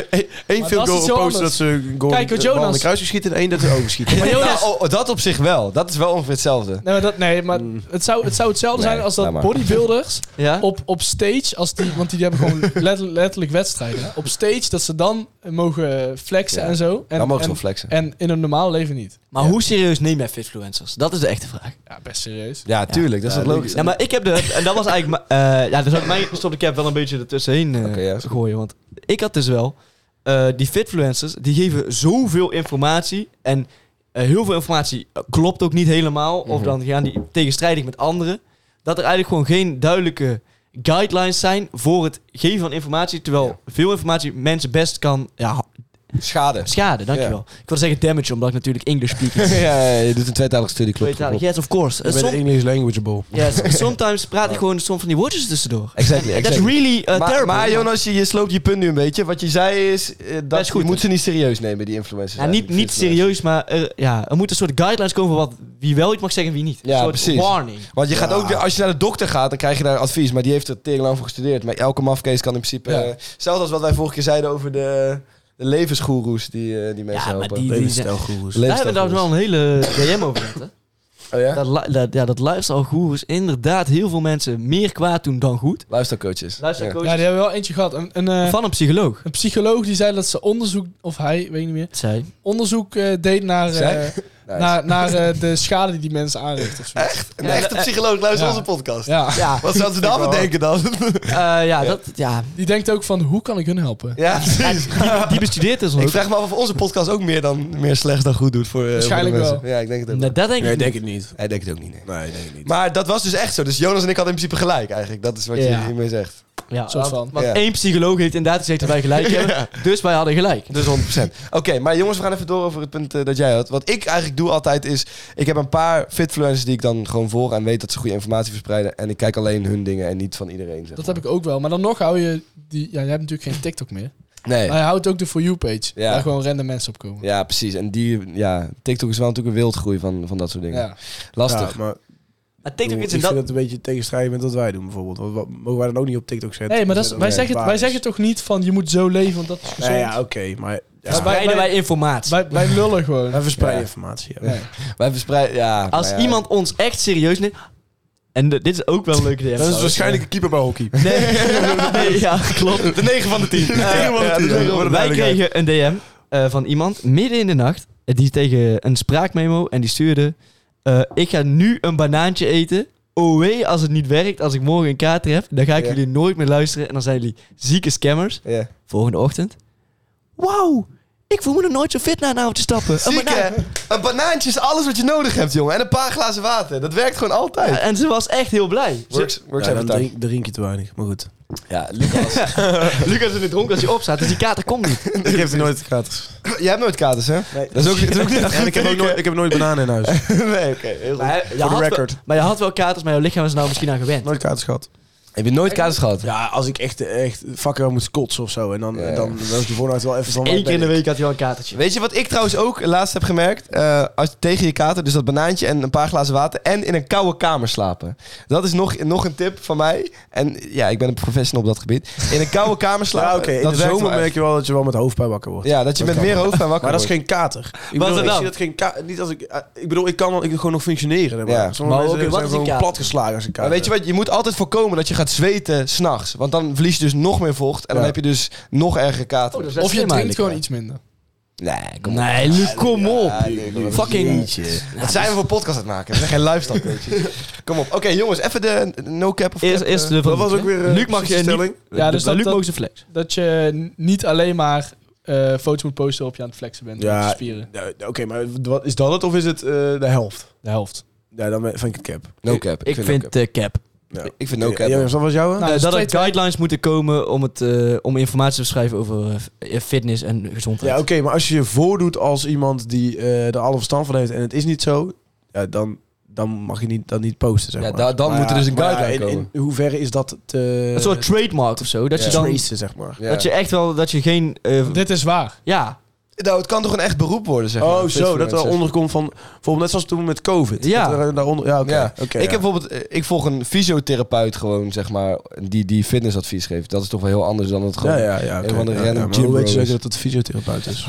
Speaker 3: Eén
Speaker 5: Maar
Speaker 3: veel
Speaker 5: dat is
Speaker 3: goal
Speaker 5: iets heel
Speaker 3: posten dat
Speaker 5: anders.
Speaker 3: ze een goal
Speaker 5: Kijk, wat
Speaker 3: de bal in de
Speaker 5: Jonas-
Speaker 3: kruising schieten en één dat ze overschieten.
Speaker 5: Maar Jonas-
Speaker 2: Nou, oh, oh, dat op zich wel. Dat is wel ongeveer hetzelfde.
Speaker 3: Mm.
Speaker 5: Nee, maar, dat, nee, maar het, zou, het zou hetzelfde
Speaker 2: Nee,
Speaker 5: zijn als
Speaker 2: laat
Speaker 5: dat
Speaker 2: maar.
Speaker 5: bodybuilders
Speaker 4: Ja?
Speaker 5: op, op stage, als die, want die hebben gewoon letter- letterlijk wedstrijden. hè. Op stage dat ze dan mogen flexen
Speaker 2: Ja.
Speaker 5: en zo. En,
Speaker 2: Dan mogen ze
Speaker 5: en,
Speaker 2: wel flexen.
Speaker 5: en in een normaal leven niet.
Speaker 4: Maar hoe serieus neem jij fitfluencers? Dat is de echte vraag.
Speaker 5: Ja, best serieus.
Speaker 2: Ja, tuurlijk. Dat is
Speaker 3: Ja,
Speaker 2: wat logisch.
Speaker 4: Ja, maar ik heb de... En dat was eigenlijk... ma- eh, ja, dus had ik mijn stop de cap wel een beetje ertussenheen eh
Speaker 2: Oké, ja, is goed.
Speaker 4: gooien. Want ik had dus wel... eh, die fitfluencers, die geven zoveel informatie. En eh, heel veel informatie eh, klopt ook niet helemaal. Of
Speaker 2: Mhm.
Speaker 4: dan gaan die tegenstrijdig met anderen. Dat er eigenlijk gewoon geen duidelijke guidelines zijn voor het geven van informatie. Terwijl veel informatie mensen best kan ja,
Speaker 2: Schade.
Speaker 4: schaden. Dankjewel. Ik wilde zeggen damage, omdat ik natuurlijk English speaking is.
Speaker 2: ja, je doet een tweetalige studie, klopt.
Speaker 4: Tweetalig.
Speaker 2: klopt.
Speaker 4: Yes, of course. Eh,
Speaker 3: Ik ben
Speaker 4: som-
Speaker 3: English languageable.
Speaker 4: Ja, s- sometimes praat ik gewoon soms van die woordjes tussendoor.
Speaker 2: Exactly,
Speaker 4: That's
Speaker 2: exactly.
Speaker 4: really uh,
Speaker 2: maar,
Speaker 4: terrible.
Speaker 2: maar Jonas, je, je sloopt je punt nu een beetje. Wat je zei is, eh, dat,
Speaker 4: Dat is goed,
Speaker 2: je moet
Speaker 4: hè?
Speaker 2: ze niet serieus nemen, die influencers.
Speaker 4: Ja, niet,
Speaker 2: eigenlijk,
Speaker 4: niet
Speaker 2: fitfluencers.
Speaker 4: serieus, maar er, ja, er moet een soort guidelines komen van wat, wie wel iets mag zeggen en wie niet.
Speaker 2: Ja,
Speaker 4: een soort
Speaker 2: precies.
Speaker 4: warning.
Speaker 2: Want je gaat ook weer, als je naar de dokter gaat, dan krijg je daar advies. Maar die heeft er tegen lang voor gestudeerd. Maar elke mafkees kan in principe...
Speaker 5: Ja.
Speaker 2: eh, zelfs als wat wij vorige keer zeiden over de, de levensgoeroes die, eh, die mensen
Speaker 4: Ja, maar
Speaker 2: helpen.
Speaker 4: die- die zijn-
Speaker 3: goeroes.
Speaker 4: Daar hebben we trouwens wel een hele DM over gehad, hè?
Speaker 2: Oh ja?
Speaker 4: Dat, lu- dat, ja, dat luisteralgoeroes inderdaad heel veel mensen meer kwaad doen dan goed.
Speaker 2: Luistercoaches.
Speaker 4: Luistercoaches
Speaker 5: Ja, die hebben wel eentje gehad. Een, een, eh,
Speaker 4: van een psycholoog.
Speaker 5: een psycholoog die zei dat ze onderzoek, of hij, weet ik niet meer,
Speaker 4: Zij.
Speaker 5: onderzoek eh, deed naar, eh,
Speaker 2: Zij? Ja. Nice.
Speaker 5: naar, naar eh, de schade die die mensen aanrichten. Of zo.
Speaker 2: Nou, Een echte psycholoog luistert
Speaker 5: Ja.
Speaker 2: onze podcast.
Speaker 5: Ja.
Speaker 4: Ja,
Speaker 2: Wat zouden ze daarvan denken dan?
Speaker 4: eh, ja, dat, ja.
Speaker 5: Die denkt ook van, hoe kan ik hun helpen?
Speaker 2: ja, precies.
Speaker 4: Die, die bestudeert dus
Speaker 2: Ik
Speaker 4: ook.
Speaker 2: vraag me af of onze podcast ook meer, dan, meer slecht dan goed doet voor, eh, voor de
Speaker 5: Waarschijnlijk
Speaker 2: mensen.
Speaker 5: wel.
Speaker 2: Ja, ik denk het ook.
Speaker 4: Nou, dat denk ik
Speaker 3: Nee, ik denk
Speaker 4: niet.
Speaker 3: het niet.
Speaker 2: Hij denkt het ook niet, nee.
Speaker 3: Nee, ik denk het niet.
Speaker 2: Maar dat was dus echt zo. Dus Jonas en ik hadden in principe gelijk eigenlijk. Dat is wat je
Speaker 4: Ja.
Speaker 2: hiermee zegt.
Speaker 4: Ja,
Speaker 5: Soort
Speaker 4: want-
Speaker 5: van.
Speaker 4: Want
Speaker 2: Ja.
Speaker 4: één psycholoog heeft inderdaad gezegd dat wij gelijk hebben. Dus wij hadden gelijk.
Speaker 2: Dus 100%. Oké, maar jongens, we gaan even door over het punt eh, dat jij had. Wat ik eigenlijk doe altijd is... Ik heb een paar fitfluencers die ik dan gewoon volg... en weet dat ze goede informatie verspreiden. En ik kijk alleen hun dingen en niet van iedereen. Zeg
Speaker 5: Dat
Speaker 2: maar.
Speaker 5: heb ik ook wel. Maar dan nog hou je die... Ja, jij hebt natuurlijk geen TikTok meer.
Speaker 2: Nee.
Speaker 5: Maar je houdt ook de For You-page.
Speaker 2: Ja.
Speaker 5: Waar gewoon random mensen op komen.
Speaker 2: Ja, precies. En die... Ja, TikTok is wel natuurlijk een wildgroei van, van dat soort dingen.
Speaker 5: Ja.
Speaker 2: Lastig.
Speaker 3: Ja, maar
Speaker 4: Maar
Speaker 3: ik
Speaker 4: TikTok is
Speaker 3: vind
Speaker 4: in
Speaker 3: dat...
Speaker 4: dat...
Speaker 3: het een beetje tegenstrijdig met wat wij doen bijvoorbeeld. Want wat, mogen wij dan ook niet op TikTok zetten?
Speaker 5: Nee, maar dat is, wij,
Speaker 3: Nee,
Speaker 5: zeggen,
Speaker 3: waar
Speaker 5: wij
Speaker 3: is.
Speaker 5: zeggen toch niet van je moet zo leven, want dat is gezond.
Speaker 3: Nou ja, oké, maar ja,
Speaker 5: wij-
Speaker 4: Spreiden wij informatie.
Speaker 5: wij, wij lullen gewoon.
Speaker 3: wij verspreiden
Speaker 2: Ja.
Speaker 3: informatie. Ja.
Speaker 5: Ja.
Speaker 2: Wij verspreiden... Ja,
Speaker 4: Als
Speaker 2: maar ja.
Speaker 4: iemand ons echt serieus neemt... En de- dit is ook wel een leuke idee.
Speaker 3: Dat is waarschijnlijk een keeper bij hockey.
Speaker 4: Nee, nee, ja, klopt. dus
Speaker 2: De 9 van de 10.
Speaker 3: Ja, ja, dat is wel een
Speaker 4: Wij
Speaker 3: duidelijkheid.
Speaker 4: kregen een DM eh, van iemand midden in de nacht. eh, Die tegen een spraakmemo en die stuurde... eh, ik ga nu een banaantje eten. Oh wee, als het niet werkt, als ik morgen een kaart heb, dan ga ik
Speaker 2: Ja.
Speaker 4: jullie nooit meer luisteren. En dan zijn jullie zieke scammers.
Speaker 2: Ja.
Speaker 4: Volgende ochtend. Wauw, ik voel me nog nooit zo fit na een avondje stappen. Een
Speaker 2: Ziek,
Speaker 4: banaan.
Speaker 2: hè? Een banaantje is alles wat je nodig hebt, jongen. En een paar glazen water. Dat werkt gewoon altijd.
Speaker 4: Ja, en ze was echt heel blij. Ze-
Speaker 2: Works, works
Speaker 3: Ja,
Speaker 2: every
Speaker 3: dan
Speaker 2: time.
Speaker 3: drink, drink je te weinig, maar goed.
Speaker 2: Ja, Lucas.
Speaker 4: Lucas is weer dronken als hij opstaat, dus die kater komt niet.
Speaker 3: Ik geef er nooit gratis.
Speaker 2: Jij hebt nooit katers, hè?
Speaker 3: Nee.
Speaker 2: Dat is ook, dat is ook niet
Speaker 3: En ik heb, ook nooit, ik heb nooit bananen in huis.
Speaker 2: nee, oké. heel goed.
Speaker 4: Maar, je had wel-
Speaker 3: record.
Speaker 4: maar je had wel katers, maar jouw lichaam is er nou misschien aan gewend.
Speaker 3: Nooit gratis gehad.
Speaker 2: Heb je nooit katers gehad?
Speaker 3: Ja, als ik echt, echt fucking moest kotsen of zo. En dan,
Speaker 2: Ja.
Speaker 3: dan, dan is de voornaad wel even van... waar
Speaker 4: Eén keer in de
Speaker 3: ben ik?
Speaker 4: week had hij wel een katertje.
Speaker 2: Weet je wat ik trouwens ook laatst heb gemerkt? Eh, als tegen je kater, dus dat banaantje en een paar glazen water... en in een koude kamer slapen. Dat is nog, nog een tip van mij. En ja, ik ben een professional op dat gebied. In een koude kamer slapen.
Speaker 3: Ja, oké. In
Speaker 2: dat
Speaker 3: de
Speaker 2: werkt
Speaker 3: zomer
Speaker 2: wel echt.
Speaker 3: merk je wel dat je wel met hoofdpijn wakker wordt.
Speaker 2: Ja, dat je met
Speaker 3: kan
Speaker 2: meer
Speaker 3: wel.
Speaker 2: hoofdpijn wakker
Speaker 3: Maar dat is
Speaker 2: wordt.
Speaker 3: geen kater. Ik
Speaker 4: Wat
Speaker 3: bedoel,
Speaker 4: dan?
Speaker 3: ik zie dat geen ka- niet als ik, eh, ik bedoel, ik kan wel- ik kan gewoon nog functioneren. hè, Maar
Speaker 2: Ja.
Speaker 3: Sommige
Speaker 4: Maar
Speaker 3: mensen
Speaker 4: oké, wat
Speaker 3: zijn
Speaker 4: is een
Speaker 3: gewoon
Speaker 4: kater?
Speaker 3: platgeslagen als een
Speaker 2: Maar
Speaker 3: kater.
Speaker 2: weet je wat, je moet altijd voorkomen dat je gaat zweten s'nachts. Want dan verlies je dus nog meer vocht. En dan
Speaker 3: Ja.
Speaker 2: heb je dus nog erger kater.
Speaker 4: Oh, dat is best
Speaker 5: Of je
Speaker 4: slim
Speaker 5: drinkt
Speaker 4: eigenlijk
Speaker 5: gewoon
Speaker 4: wel.
Speaker 5: iets minder.
Speaker 2: Nee, kom op.
Speaker 4: Nee, Luc, kom op.
Speaker 2: Ja, nee, kom op.
Speaker 4: Fucking...
Speaker 2: Wat zijn we voor podcast aan het maken? We zijn geen lifestyle coaches. dus- Kom op. Oké, jongens, even de no cap of
Speaker 4: Eerst,
Speaker 2: cap,
Speaker 4: eerst
Speaker 2: eh.
Speaker 4: de
Speaker 3: dat was ook weer, eh,
Speaker 4: Luc mag je
Speaker 3: precies stelling.
Speaker 4: niet...
Speaker 5: Ja, dus
Speaker 4: de-
Speaker 5: dat-
Speaker 4: Luc
Speaker 5: dat-
Speaker 4: mag zijn flex.
Speaker 5: Dat je n- niet alleen maar eh, foto's moet posten op je aan het flexen bent.
Speaker 3: Ja.
Speaker 5: Ja. spieren.
Speaker 3: Ja, Oké, maar wat, is dat het of is het eh, de helft?
Speaker 5: De helft.
Speaker 3: Ja, dan vind ik het cap.
Speaker 2: No cap.
Speaker 4: Ik vind de cap.
Speaker 3: Ja.
Speaker 2: Ik vind no cap.
Speaker 3: Ja, jongens, wat was jouw? hè?
Speaker 5: Nou,
Speaker 4: Eh,
Speaker 5: dus
Speaker 4: dat
Speaker 5: twee-
Speaker 4: er
Speaker 5: twee-
Speaker 4: guidelines moeten komen om, het, eh, om informatie te beschrijven over eh, f- eh, fitness en gezondheid.
Speaker 3: ja, oké, maar als je je voordoet als iemand die eh er alle verstand van heeft en het is niet zo, ja, dan, dan mag je niet, dat niet posten, zeg
Speaker 2: Ja,
Speaker 3: maar.
Speaker 2: da- dan
Speaker 3: Maar
Speaker 2: moet er
Speaker 3: ja,
Speaker 2: dus een
Speaker 3: maar ja,
Speaker 2: guideline
Speaker 3: in, in hoeverre is dat te...
Speaker 4: een soort trademark of zo. Dat,
Speaker 2: Ja.
Speaker 4: je, dan,
Speaker 3: tracen, zeg maar.
Speaker 2: Ja.
Speaker 4: dat je echt wel... Dat je geen... eh,
Speaker 5: Dit is waar.
Speaker 4: ja,
Speaker 2: Nou, het kan toch een echt beroep worden, zeg maar.
Speaker 3: Oh, zo, dat er
Speaker 2: Fitfluencer.
Speaker 3: onder komt van... Bijvoorbeeld net zoals toen met COVID.
Speaker 4: Ja.
Speaker 3: Dat er daaronder, ja, oké.
Speaker 2: Ja.
Speaker 3: oké,
Speaker 2: ik
Speaker 3: ja.
Speaker 2: heb bijvoorbeeld, eh, ik volg een fysiotherapeut gewoon, zeg maar, die, die fitnessadvies geeft. Dat is toch wel heel anders dan het gewoon.
Speaker 3: Ja, ja, ja.
Speaker 2: een
Speaker 3: oké.
Speaker 2: van de
Speaker 3: Ja,
Speaker 2: random
Speaker 3: ja, maar
Speaker 2: gym
Speaker 3: Hoe weet je
Speaker 2: bros.
Speaker 3: zeker dat het fysiotherapeut is?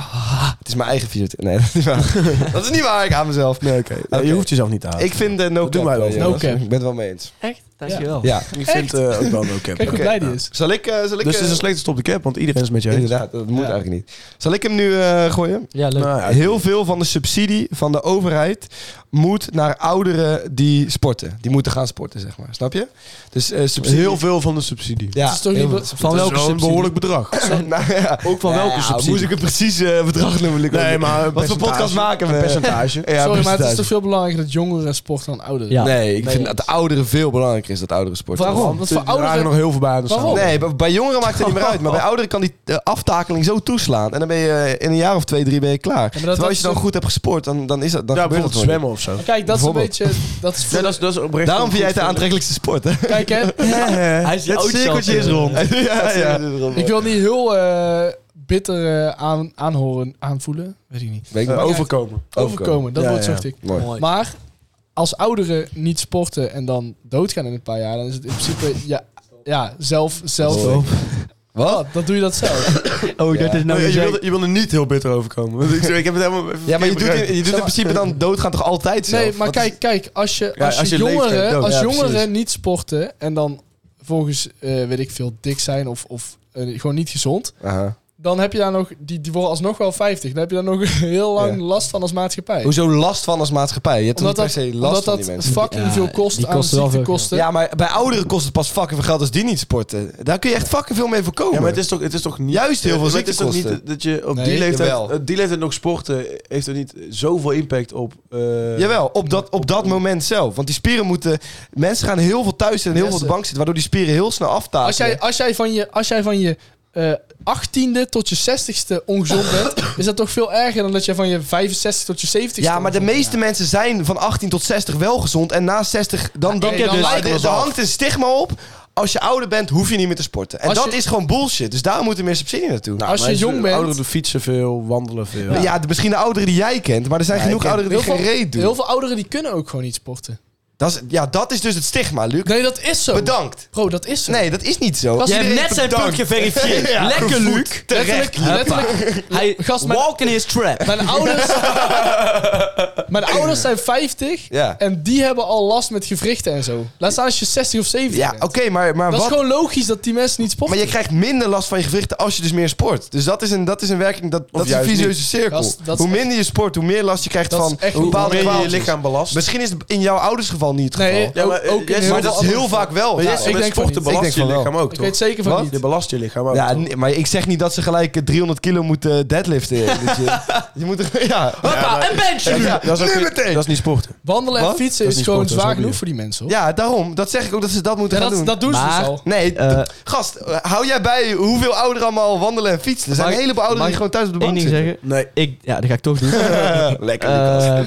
Speaker 2: Het is mijn eigen fysiotherapeut. Nee, dat is niet waar. dat is niet waar. Ik aan mezelf.
Speaker 3: Nee, oké.
Speaker 2: Oké.
Speaker 3: Je hoeft jezelf niet aan.
Speaker 2: Ik vind de no
Speaker 3: Dat doen
Speaker 2: cap,
Speaker 3: wij wel.
Speaker 2: eh,
Speaker 5: No
Speaker 2: jongens.
Speaker 5: cap.
Speaker 2: Ik ben het wel mee eens.
Speaker 4: Echt? Dankjewel.
Speaker 2: Ja.
Speaker 3: Ik vind eh, ook wel een oké.
Speaker 5: Kijk hoe
Speaker 2: Oké,
Speaker 5: blij die
Speaker 2: nou.
Speaker 5: is.
Speaker 2: Zal ik... eh, zal ik eh,
Speaker 3: Dus het is een slechte stop de cap, want iedereen is met je eens.
Speaker 2: Inderdaad, dat moet eigenlijk niet. Zal ik hem nu eh, gooien?
Speaker 4: Ja, leuk.
Speaker 3: Nou ja,
Speaker 2: Heel veel van de subsidie van de overheid moet naar ouderen die sporten. Die moeten gaan sporten, zeg maar. Snap je? Dus eh, subsidie...
Speaker 3: heel veel van de subsidie.
Speaker 2: Ja,
Speaker 5: Het is toch
Speaker 2: heel
Speaker 5: niet
Speaker 2: veel.
Speaker 5: wat-
Speaker 4: Van
Speaker 3: Dat is
Speaker 4: welke
Speaker 3: wel een
Speaker 4: subsidie?
Speaker 3: behoorlijk bedrag.
Speaker 2: Nou ja.
Speaker 4: Ook van welke
Speaker 2: Ja,
Speaker 4: subsidie?
Speaker 2: Moest ik een precies eh, bedrag noemen? Luc?
Speaker 3: Nee, maar
Speaker 2: Wat
Speaker 3: een
Speaker 2: voor
Speaker 3: percentage.
Speaker 2: podcast maken we?
Speaker 3: Een percentage.
Speaker 2: Ja,
Speaker 5: Sorry, maar het is
Speaker 2: percentage.
Speaker 5: toch veel belangrijker dat jongeren sporten dan ouderen?
Speaker 4: Ja.
Speaker 2: Nee, ik
Speaker 4: Nee,
Speaker 2: vind
Speaker 4: eens.
Speaker 2: dat de ouderen veel belangrijker is dat ouderen sporten.
Speaker 5: Waarom? Want voor
Speaker 3: Er waren nog
Speaker 5: ouderen...
Speaker 3: heel veel banen staan.
Speaker 5: Waarom?
Speaker 2: Nee, bij- bij jongeren maakt het niet meer uit. Maar bij ouderen kan die eh, aftakeling zo toeslaan. En dan ben je eh, in een jaar of twee, drie ben je klaar. Terwijl als je dan
Speaker 5: is-
Speaker 2: goed hebt gesport, dan, dan is dat dan
Speaker 3: Ja,
Speaker 2: gebeurt dat
Speaker 3: bijvoorbeeld
Speaker 2: gewoon niet.
Speaker 3: zwemmen of zo.
Speaker 5: Kijk, dat is een
Speaker 2: Bijvoorbeeld.
Speaker 5: beetje... Dat is voor de-
Speaker 3: dat is oprecht.
Speaker 2: Daarom vind jij het de aantrekkelijkste sport, hè?
Speaker 5: Kijk, hè.
Speaker 4: Hij is die oud zelf.
Speaker 2: ja, ja.
Speaker 5: Ik wil niet heel eh, bitter eh, aan, aanhoren, aanvoelen. Weet ik niet.
Speaker 2: Weet ik niet.
Speaker 3: overkomen.
Speaker 5: Overkomen, dat
Speaker 3: Ja,
Speaker 5: wordt
Speaker 3: ja.
Speaker 5: zocht ik.
Speaker 2: Mooi.
Speaker 4: Mooi.
Speaker 5: Maar als ouderen niet sporten en dan doodgaan in een paar jaar, dan is het in principe ja, ja zelf, zelf.
Speaker 2: Zo. Wat?
Speaker 5: Oh, dan doe je dat zelf.
Speaker 4: Oh, ik
Speaker 2: Ja.
Speaker 4: dacht dat nou
Speaker 3: je,
Speaker 4: je zei-
Speaker 3: wilde, je wilde niet heel bitter overkomen. Want ik, ik heb het helemaal even
Speaker 2: Ja, maar je doet,
Speaker 3: begrepen.
Speaker 2: in, je doet in principe dan doodgaan toch altijd zelf?
Speaker 5: Nee, maar
Speaker 2: Wat is-
Speaker 5: kijk, kijk, als je,
Speaker 3: Ja,
Speaker 5: als je,
Speaker 3: als je leeft,
Speaker 5: jongeren,
Speaker 3: ga je dood.
Speaker 5: als
Speaker 3: Ja,
Speaker 5: jongeren
Speaker 3: precies.
Speaker 5: niet sporten en dan volgens, eh, weet ik veel, dik zijn of, of eh, gewoon niet gezond,
Speaker 2: Aha.
Speaker 5: dan heb je daar nog, die, die worden alsnog wel 50. Dan heb je daar nog heel lang
Speaker 2: Ja.
Speaker 5: last van als maatschappij.
Speaker 2: Hoezo last van als maatschappij? Je hebt
Speaker 5: Omdat
Speaker 2: toch niet
Speaker 5: dat,
Speaker 2: per se
Speaker 5: omdat
Speaker 2: last van die
Speaker 5: dat
Speaker 2: mensen.
Speaker 5: fucking
Speaker 4: Ja,
Speaker 5: veel kost
Speaker 4: die
Speaker 5: aan
Speaker 4: kosten wel veel
Speaker 5: ziektekosten.
Speaker 2: Ja, maar bij ouderen kost het pas fucking veel geld als die niet sporten. Daar kun je echt fucking veel mee voorkomen.
Speaker 3: Ja, maar het is toch, het is toch niet...
Speaker 2: Juist heel veel
Speaker 3: Maar Het is toch
Speaker 2: ziektekosten.
Speaker 3: niet dat je op
Speaker 5: Nee,
Speaker 3: die, leeftijd,
Speaker 2: jawel.
Speaker 3: op die leeftijd nog sporten... heeft er niet zoveel impact op... eh,
Speaker 2: Jawel, op dat, op dat moment zelf. Want die spieren moeten... Mensen gaan heel veel thuis en heel
Speaker 5: Yes,
Speaker 2: veel op de
Speaker 5: sir.
Speaker 2: bank zitten... waardoor die spieren heel snel aftaken.
Speaker 5: Als jij, als jij van je, als jij van je eh, 18e tot je 60ste ongezond bent, is dat toch veel erger dan dat je van je 65 tot je 70ste.
Speaker 2: ja, maar de
Speaker 5: ongezond
Speaker 2: meeste mensen zijn van 18 tot 60 wel gezond. En na 60, dan, dan,
Speaker 5: nee, dan
Speaker 2: dus-
Speaker 5: lijkt het
Speaker 2: er- er
Speaker 5: wel af.
Speaker 2: hangt een stigma op. Als je ouder bent, hoef je niet meer te sporten. En
Speaker 5: Als
Speaker 2: dat
Speaker 5: je- Nou,
Speaker 2: is gewoon bullshit. Dus daar moet er meer subsidie naartoe.
Speaker 5: bent. Als
Speaker 3: maar
Speaker 5: je jong
Speaker 3: Ouderen
Speaker 5: bent,
Speaker 3: doen fietsen veel, wandelen veel.
Speaker 2: ja, de- misschien de ouderen die jij kent. Maar er zijn
Speaker 3: Ja,
Speaker 2: genoeg
Speaker 3: ik ken
Speaker 2: ouderen die
Speaker 5: heel
Speaker 2: geen
Speaker 5: veel,
Speaker 2: reet doen.
Speaker 5: heel veel ouderen die kunnen ook gewoon niet sporten.
Speaker 2: Dat is, ja, dat is dus het stigma, Luc.
Speaker 5: Nee, dat is zo.
Speaker 2: Bedankt.
Speaker 5: Bro, dat is zo.
Speaker 2: Nee, dat is niet zo.
Speaker 5: Dat is
Speaker 4: Je hebt
Speaker 5: Iedereen
Speaker 4: net zijn punt geverifieerd.
Speaker 2: Ja.
Speaker 4: Lekker, Luc.
Speaker 5: letterlijk, letterlijk.
Speaker 4: Hij
Speaker 5: Gast, mijn-
Speaker 4: walk in his trap.
Speaker 5: Mijn ouders, mijn ouders zijn 50
Speaker 2: Ja.
Speaker 5: en die hebben al last met gewrichten en zo. Laat staan als je 60 of 70
Speaker 2: Ja,
Speaker 5: bent.
Speaker 2: oké, maar, maar
Speaker 5: Dat
Speaker 2: wat...
Speaker 5: is gewoon logisch dat die mensen niet sporten.
Speaker 2: Maar je krijgt minder last van je gewrichten als je dus meer sport. Dus dat is een, dat is een werking, dat, dat is een
Speaker 3: juist
Speaker 2: visieuze
Speaker 3: niet.
Speaker 2: cirkel.
Speaker 5: Dat is- dat is
Speaker 2: hoe
Speaker 5: echt-
Speaker 2: minder je sport, hoe meer last je krijgt
Speaker 5: Dat is
Speaker 2: van
Speaker 5: echt
Speaker 2: een
Speaker 5: niet.
Speaker 2: bepaalde
Speaker 3: Hoe meer je je
Speaker 2: kwaaltjes.
Speaker 3: lichaam belast.
Speaker 2: Misschien is het in jouw ouders geval niet het
Speaker 5: Nee,
Speaker 2: geval.
Speaker 3: Ja, maar,
Speaker 5: ook, ook in
Speaker 3: eh,
Speaker 5: heel
Speaker 2: maar dat
Speaker 5: veel
Speaker 2: is
Speaker 5: andere
Speaker 2: heel vaak wel.
Speaker 5: Ja,
Speaker 2: toch?
Speaker 5: ik denk
Speaker 3: met sporten
Speaker 2: niet.
Speaker 5: van
Speaker 3: belast
Speaker 2: Ik denk
Speaker 3: je
Speaker 2: van
Speaker 3: lichaam ook,
Speaker 5: Ik
Speaker 3: toch?
Speaker 5: weet zeker van
Speaker 2: Wat?
Speaker 5: niet.
Speaker 3: Je belast je lichaam ook,
Speaker 2: Ja,
Speaker 3: toch?
Speaker 2: nee, maar ik zeg niet dat ze gelijk eh, 300 kilo moeten eh, deadliften. Dat je, je moet er, ja.
Speaker 4: Hoppa, een benchje nu.
Speaker 2: Ja,
Speaker 3: Dat is, ook
Speaker 2: nu
Speaker 3: niet-
Speaker 2: meteen.
Speaker 3: dat is niet sporten.
Speaker 5: Wandelen en
Speaker 2: Wat?
Speaker 5: fietsen
Speaker 3: Dat
Speaker 5: is,
Speaker 3: is niet
Speaker 5: gewoon
Speaker 3: sport, dat is
Speaker 5: zwaar
Speaker 3: hobby.
Speaker 5: genoeg voor die mensen. hoor.
Speaker 2: ja, daarom. Dat zeg ik ook dat ze dat moeten
Speaker 5: Ja,
Speaker 2: gaan
Speaker 5: dat,
Speaker 2: doen.
Speaker 5: dat doen ze
Speaker 4: Maar-
Speaker 5: dus al.
Speaker 2: Nee,
Speaker 4: Eh,
Speaker 2: gast, eh, hou jij bij hoeveel ouderen allemaal wandelen en fietsen? Er zijn
Speaker 4: Mag
Speaker 2: een
Speaker 4: ik-
Speaker 2: heleboel ouderen
Speaker 4: mag
Speaker 2: die gewoon
Speaker 4: ik
Speaker 2: thuis op de
Speaker 4: Eén
Speaker 2: bank
Speaker 4: ding
Speaker 2: zitten.
Speaker 4: zeggen.
Speaker 3: Nee.
Speaker 4: Ik, ja, dat ga ik toch doen.
Speaker 2: Lekker,
Speaker 4: Eh,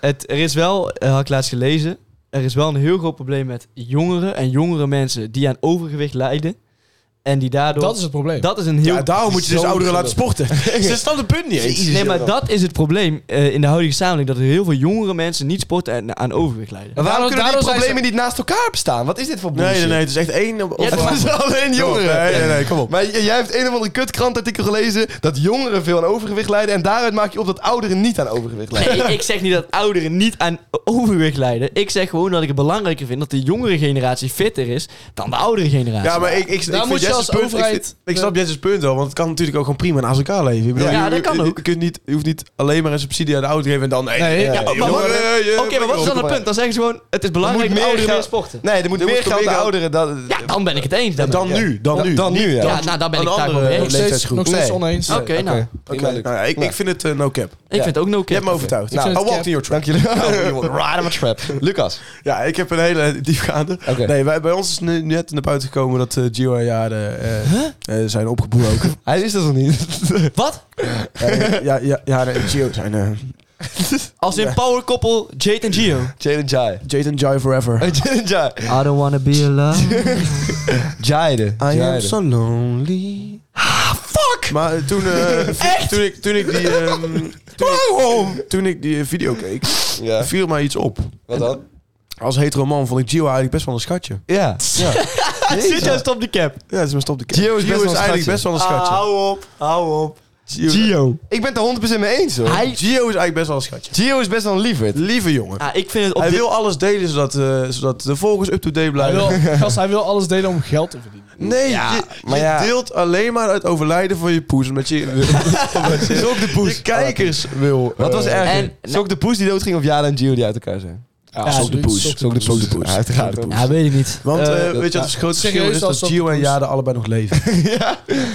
Speaker 4: het, er is wel, eh, had ik laatst gelezen, er is wel een heel groot probleem met jongeren en jongere mensen die aan overgewicht lijden. En die daardoor...
Speaker 5: Dat is het probleem.
Speaker 4: dat is een heel...
Speaker 3: Ja, daarom moet je dus
Speaker 4: zo'n
Speaker 3: ouderen laten
Speaker 4: groot-
Speaker 3: sporten. Dus Ze staan de punt niet eens.
Speaker 4: Nee, maar dat is het probleem eh, in de huidige samenleving. Dat er heel veel jongere mensen niet sporten en aan overgewicht lijden.
Speaker 2: Maar waarom
Speaker 5: Daardoor-
Speaker 2: kunnen die
Speaker 5: daardoor zijn
Speaker 2: problemen niet naast elkaar bestaan? Wat is dit voor bullshit?
Speaker 3: Nee, nee, nee. Het is echt één... Op,
Speaker 4: Ja,
Speaker 3: op-
Speaker 2: Het is alleen jongeren.
Speaker 3: Nee, nee, nee. Kom op.
Speaker 2: Maar j- jij hebt een of andere kutkrantartikel gelezen dat jongeren veel aan overgewicht lijden. En daaruit maak je op dat ouderen niet aan overgewicht lijden.
Speaker 4: Nee, ik zeg niet dat ouderen niet aan overgewicht lijden. Ik zeg gewoon dat ik het belangrijker vind dat de jongere generatie fitter is dan de oudere generatie.
Speaker 3: Ja, maar ik, ik, ik
Speaker 5: Daar
Speaker 3: vind
Speaker 5: moet je
Speaker 3: Jesse's
Speaker 5: als
Speaker 3: punt,
Speaker 5: overheid-
Speaker 3: Ik, vind- ik snap Jesse's punt wel, want het kan natuurlijk ook gewoon prima naast elkaar leven. Ik bedoel,
Speaker 4: Ja,
Speaker 3: je,
Speaker 4: dat kan
Speaker 3: je-
Speaker 4: ook.
Speaker 3: Je, kunt niet, je hoeft niet alleen maar een subsidie aan de auto geven en dan... Nee, eh,
Speaker 5: Nee, ja,
Speaker 4: maar wat- Oké, maar wat is dan het punt? Dan zeggen ze gewoon, het is belangrijk
Speaker 2: moet
Speaker 4: dat
Speaker 2: meer
Speaker 4: ouderen
Speaker 2: geld-
Speaker 4: meer sporten.
Speaker 2: Nee, er moet
Speaker 3: Er
Speaker 2: meer
Speaker 3: moet
Speaker 2: geld aan
Speaker 3: meer
Speaker 2: de
Speaker 3: geld-
Speaker 2: ouderen. Dan,
Speaker 4: Ja, dan ben ik het eens. daarmee.
Speaker 3: Dan nu, dan nu.
Speaker 2: dan nu, ja.
Speaker 4: Ja, nou, dan ben ik
Speaker 3: Een
Speaker 4: het daar wel
Speaker 3: andere
Speaker 4: mee
Speaker 5: nog
Speaker 4: eens.
Speaker 3: leeftijd
Speaker 5: steeds,
Speaker 3: is goed.
Speaker 5: nog steeds
Speaker 2: Nee.
Speaker 5: oneens.
Speaker 4: Oké, nou. Ik
Speaker 3: Oké,
Speaker 2: Prima, Luc.
Speaker 3: nou ja, ik, ik
Speaker 2: Prima.
Speaker 3: vind het eh, no cap.
Speaker 4: vind het ook no
Speaker 3: Je hebt me overtuigd.
Speaker 5: Ik vind
Speaker 3: Nou,
Speaker 5: het
Speaker 3: I
Speaker 5: cap.
Speaker 3: walked in your trap.
Speaker 2: Dank jullie wel. Right on my trap. Lucas.
Speaker 3: Ja, ik heb een hele diepgaande.
Speaker 2: Oké.
Speaker 3: Nee, wij, bij ons is nu net naar buiten gekomen dat eh, Gio en Jade eh, eh, zijn opgebroken.
Speaker 2: Hij wist dat nog niet.
Speaker 4: Wat?
Speaker 3: Eh, ja, ja, Jade en Gio zijn eh,
Speaker 4: Als in power koppel Jade en Gio.
Speaker 2: Jaden Jai.
Speaker 3: Jade en Jai forever.
Speaker 2: Oh, Jaden Jai.
Speaker 4: I don't wanna be alone.
Speaker 2: Jaden.
Speaker 3: I am
Speaker 2: Jaden.
Speaker 3: so lonely. fuck! Maar eh, toen, eh, toen, ik, toen ik die... ehm, toen, ik, toen ik die eh, video keek,
Speaker 2: Ja.
Speaker 3: viel mij iets op.
Speaker 2: Wat dan?
Speaker 3: Als hetero man vond ik Gio eigenlijk best wel een schatje.
Speaker 2: Ja.
Speaker 4: Zit juist op de cap.
Speaker 3: Ja, dat is mijn stop de
Speaker 2: Gio is best wel een
Speaker 3: eigenlijk
Speaker 2: schatje.
Speaker 3: best wel een schatje.
Speaker 4: op, hou op.
Speaker 3: Gio,
Speaker 4: Gio.
Speaker 2: Ik ben het er 100% mee eens hoor.
Speaker 4: Hij-
Speaker 3: Gio is eigenlijk best wel een schatje.
Speaker 2: Gio is best wel een lieverd.
Speaker 3: Lieve jongen.
Speaker 4: Ah, ik vind het op
Speaker 3: Hij
Speaker 4: dit-
Speaker 3: wil alles delen zodat, eh, zodat de volgers up-to-date
Speaker 5: Hij
Speaker 3: blijven.
Speaker 5: wil, gast, hij wil alles delen om geld te verdienen.
Speaker 3: Nee, je,
Speaker 2: maar
Speaker 3: je
Speaker 2: ja.
Speaker 3: deelt alleen maar het overlijden van je poes. Omdat je, omdat je,
Speaker 2: Sok de poes.
Speaker 3: je kijkers wil.
Speaker 2: Wat was
Speaker 3: eh,
Speaker 2: erger?
Speaker 4: en-
Speaker 2: Sok de poes die doodging of Jada en Gio die uit elkaar zijn?
Speaker 5: Ja,
Speaker 4: Sok de
Speaker 5: absoluut.
Speaker 3: poes.
Speaker 5: Sok de
Speaker 2: Sok de
Speaker 3: Sok de
Speaker 2: poes.
Speaker 3: poes.
Speaker 2: Uiteraard.
Speaker 3: Sok de poes.
Speaker 4: Ja, weet ik niet.
Speaker 3: Want
Speaker 2: Eh, dat-
Speaker 3: eh, weet je wat
Speaker 5: ja,
Speaker 3: het grote verschil
Speaker 5: serieus
Speaker 3: is?
Speaker 5: als
Speaker 3: Dat
Speaker 5: Sok de
Speaker 3: Gio en
Speaker 5: Poes.
Speaker 3: Jade allebei nog leven.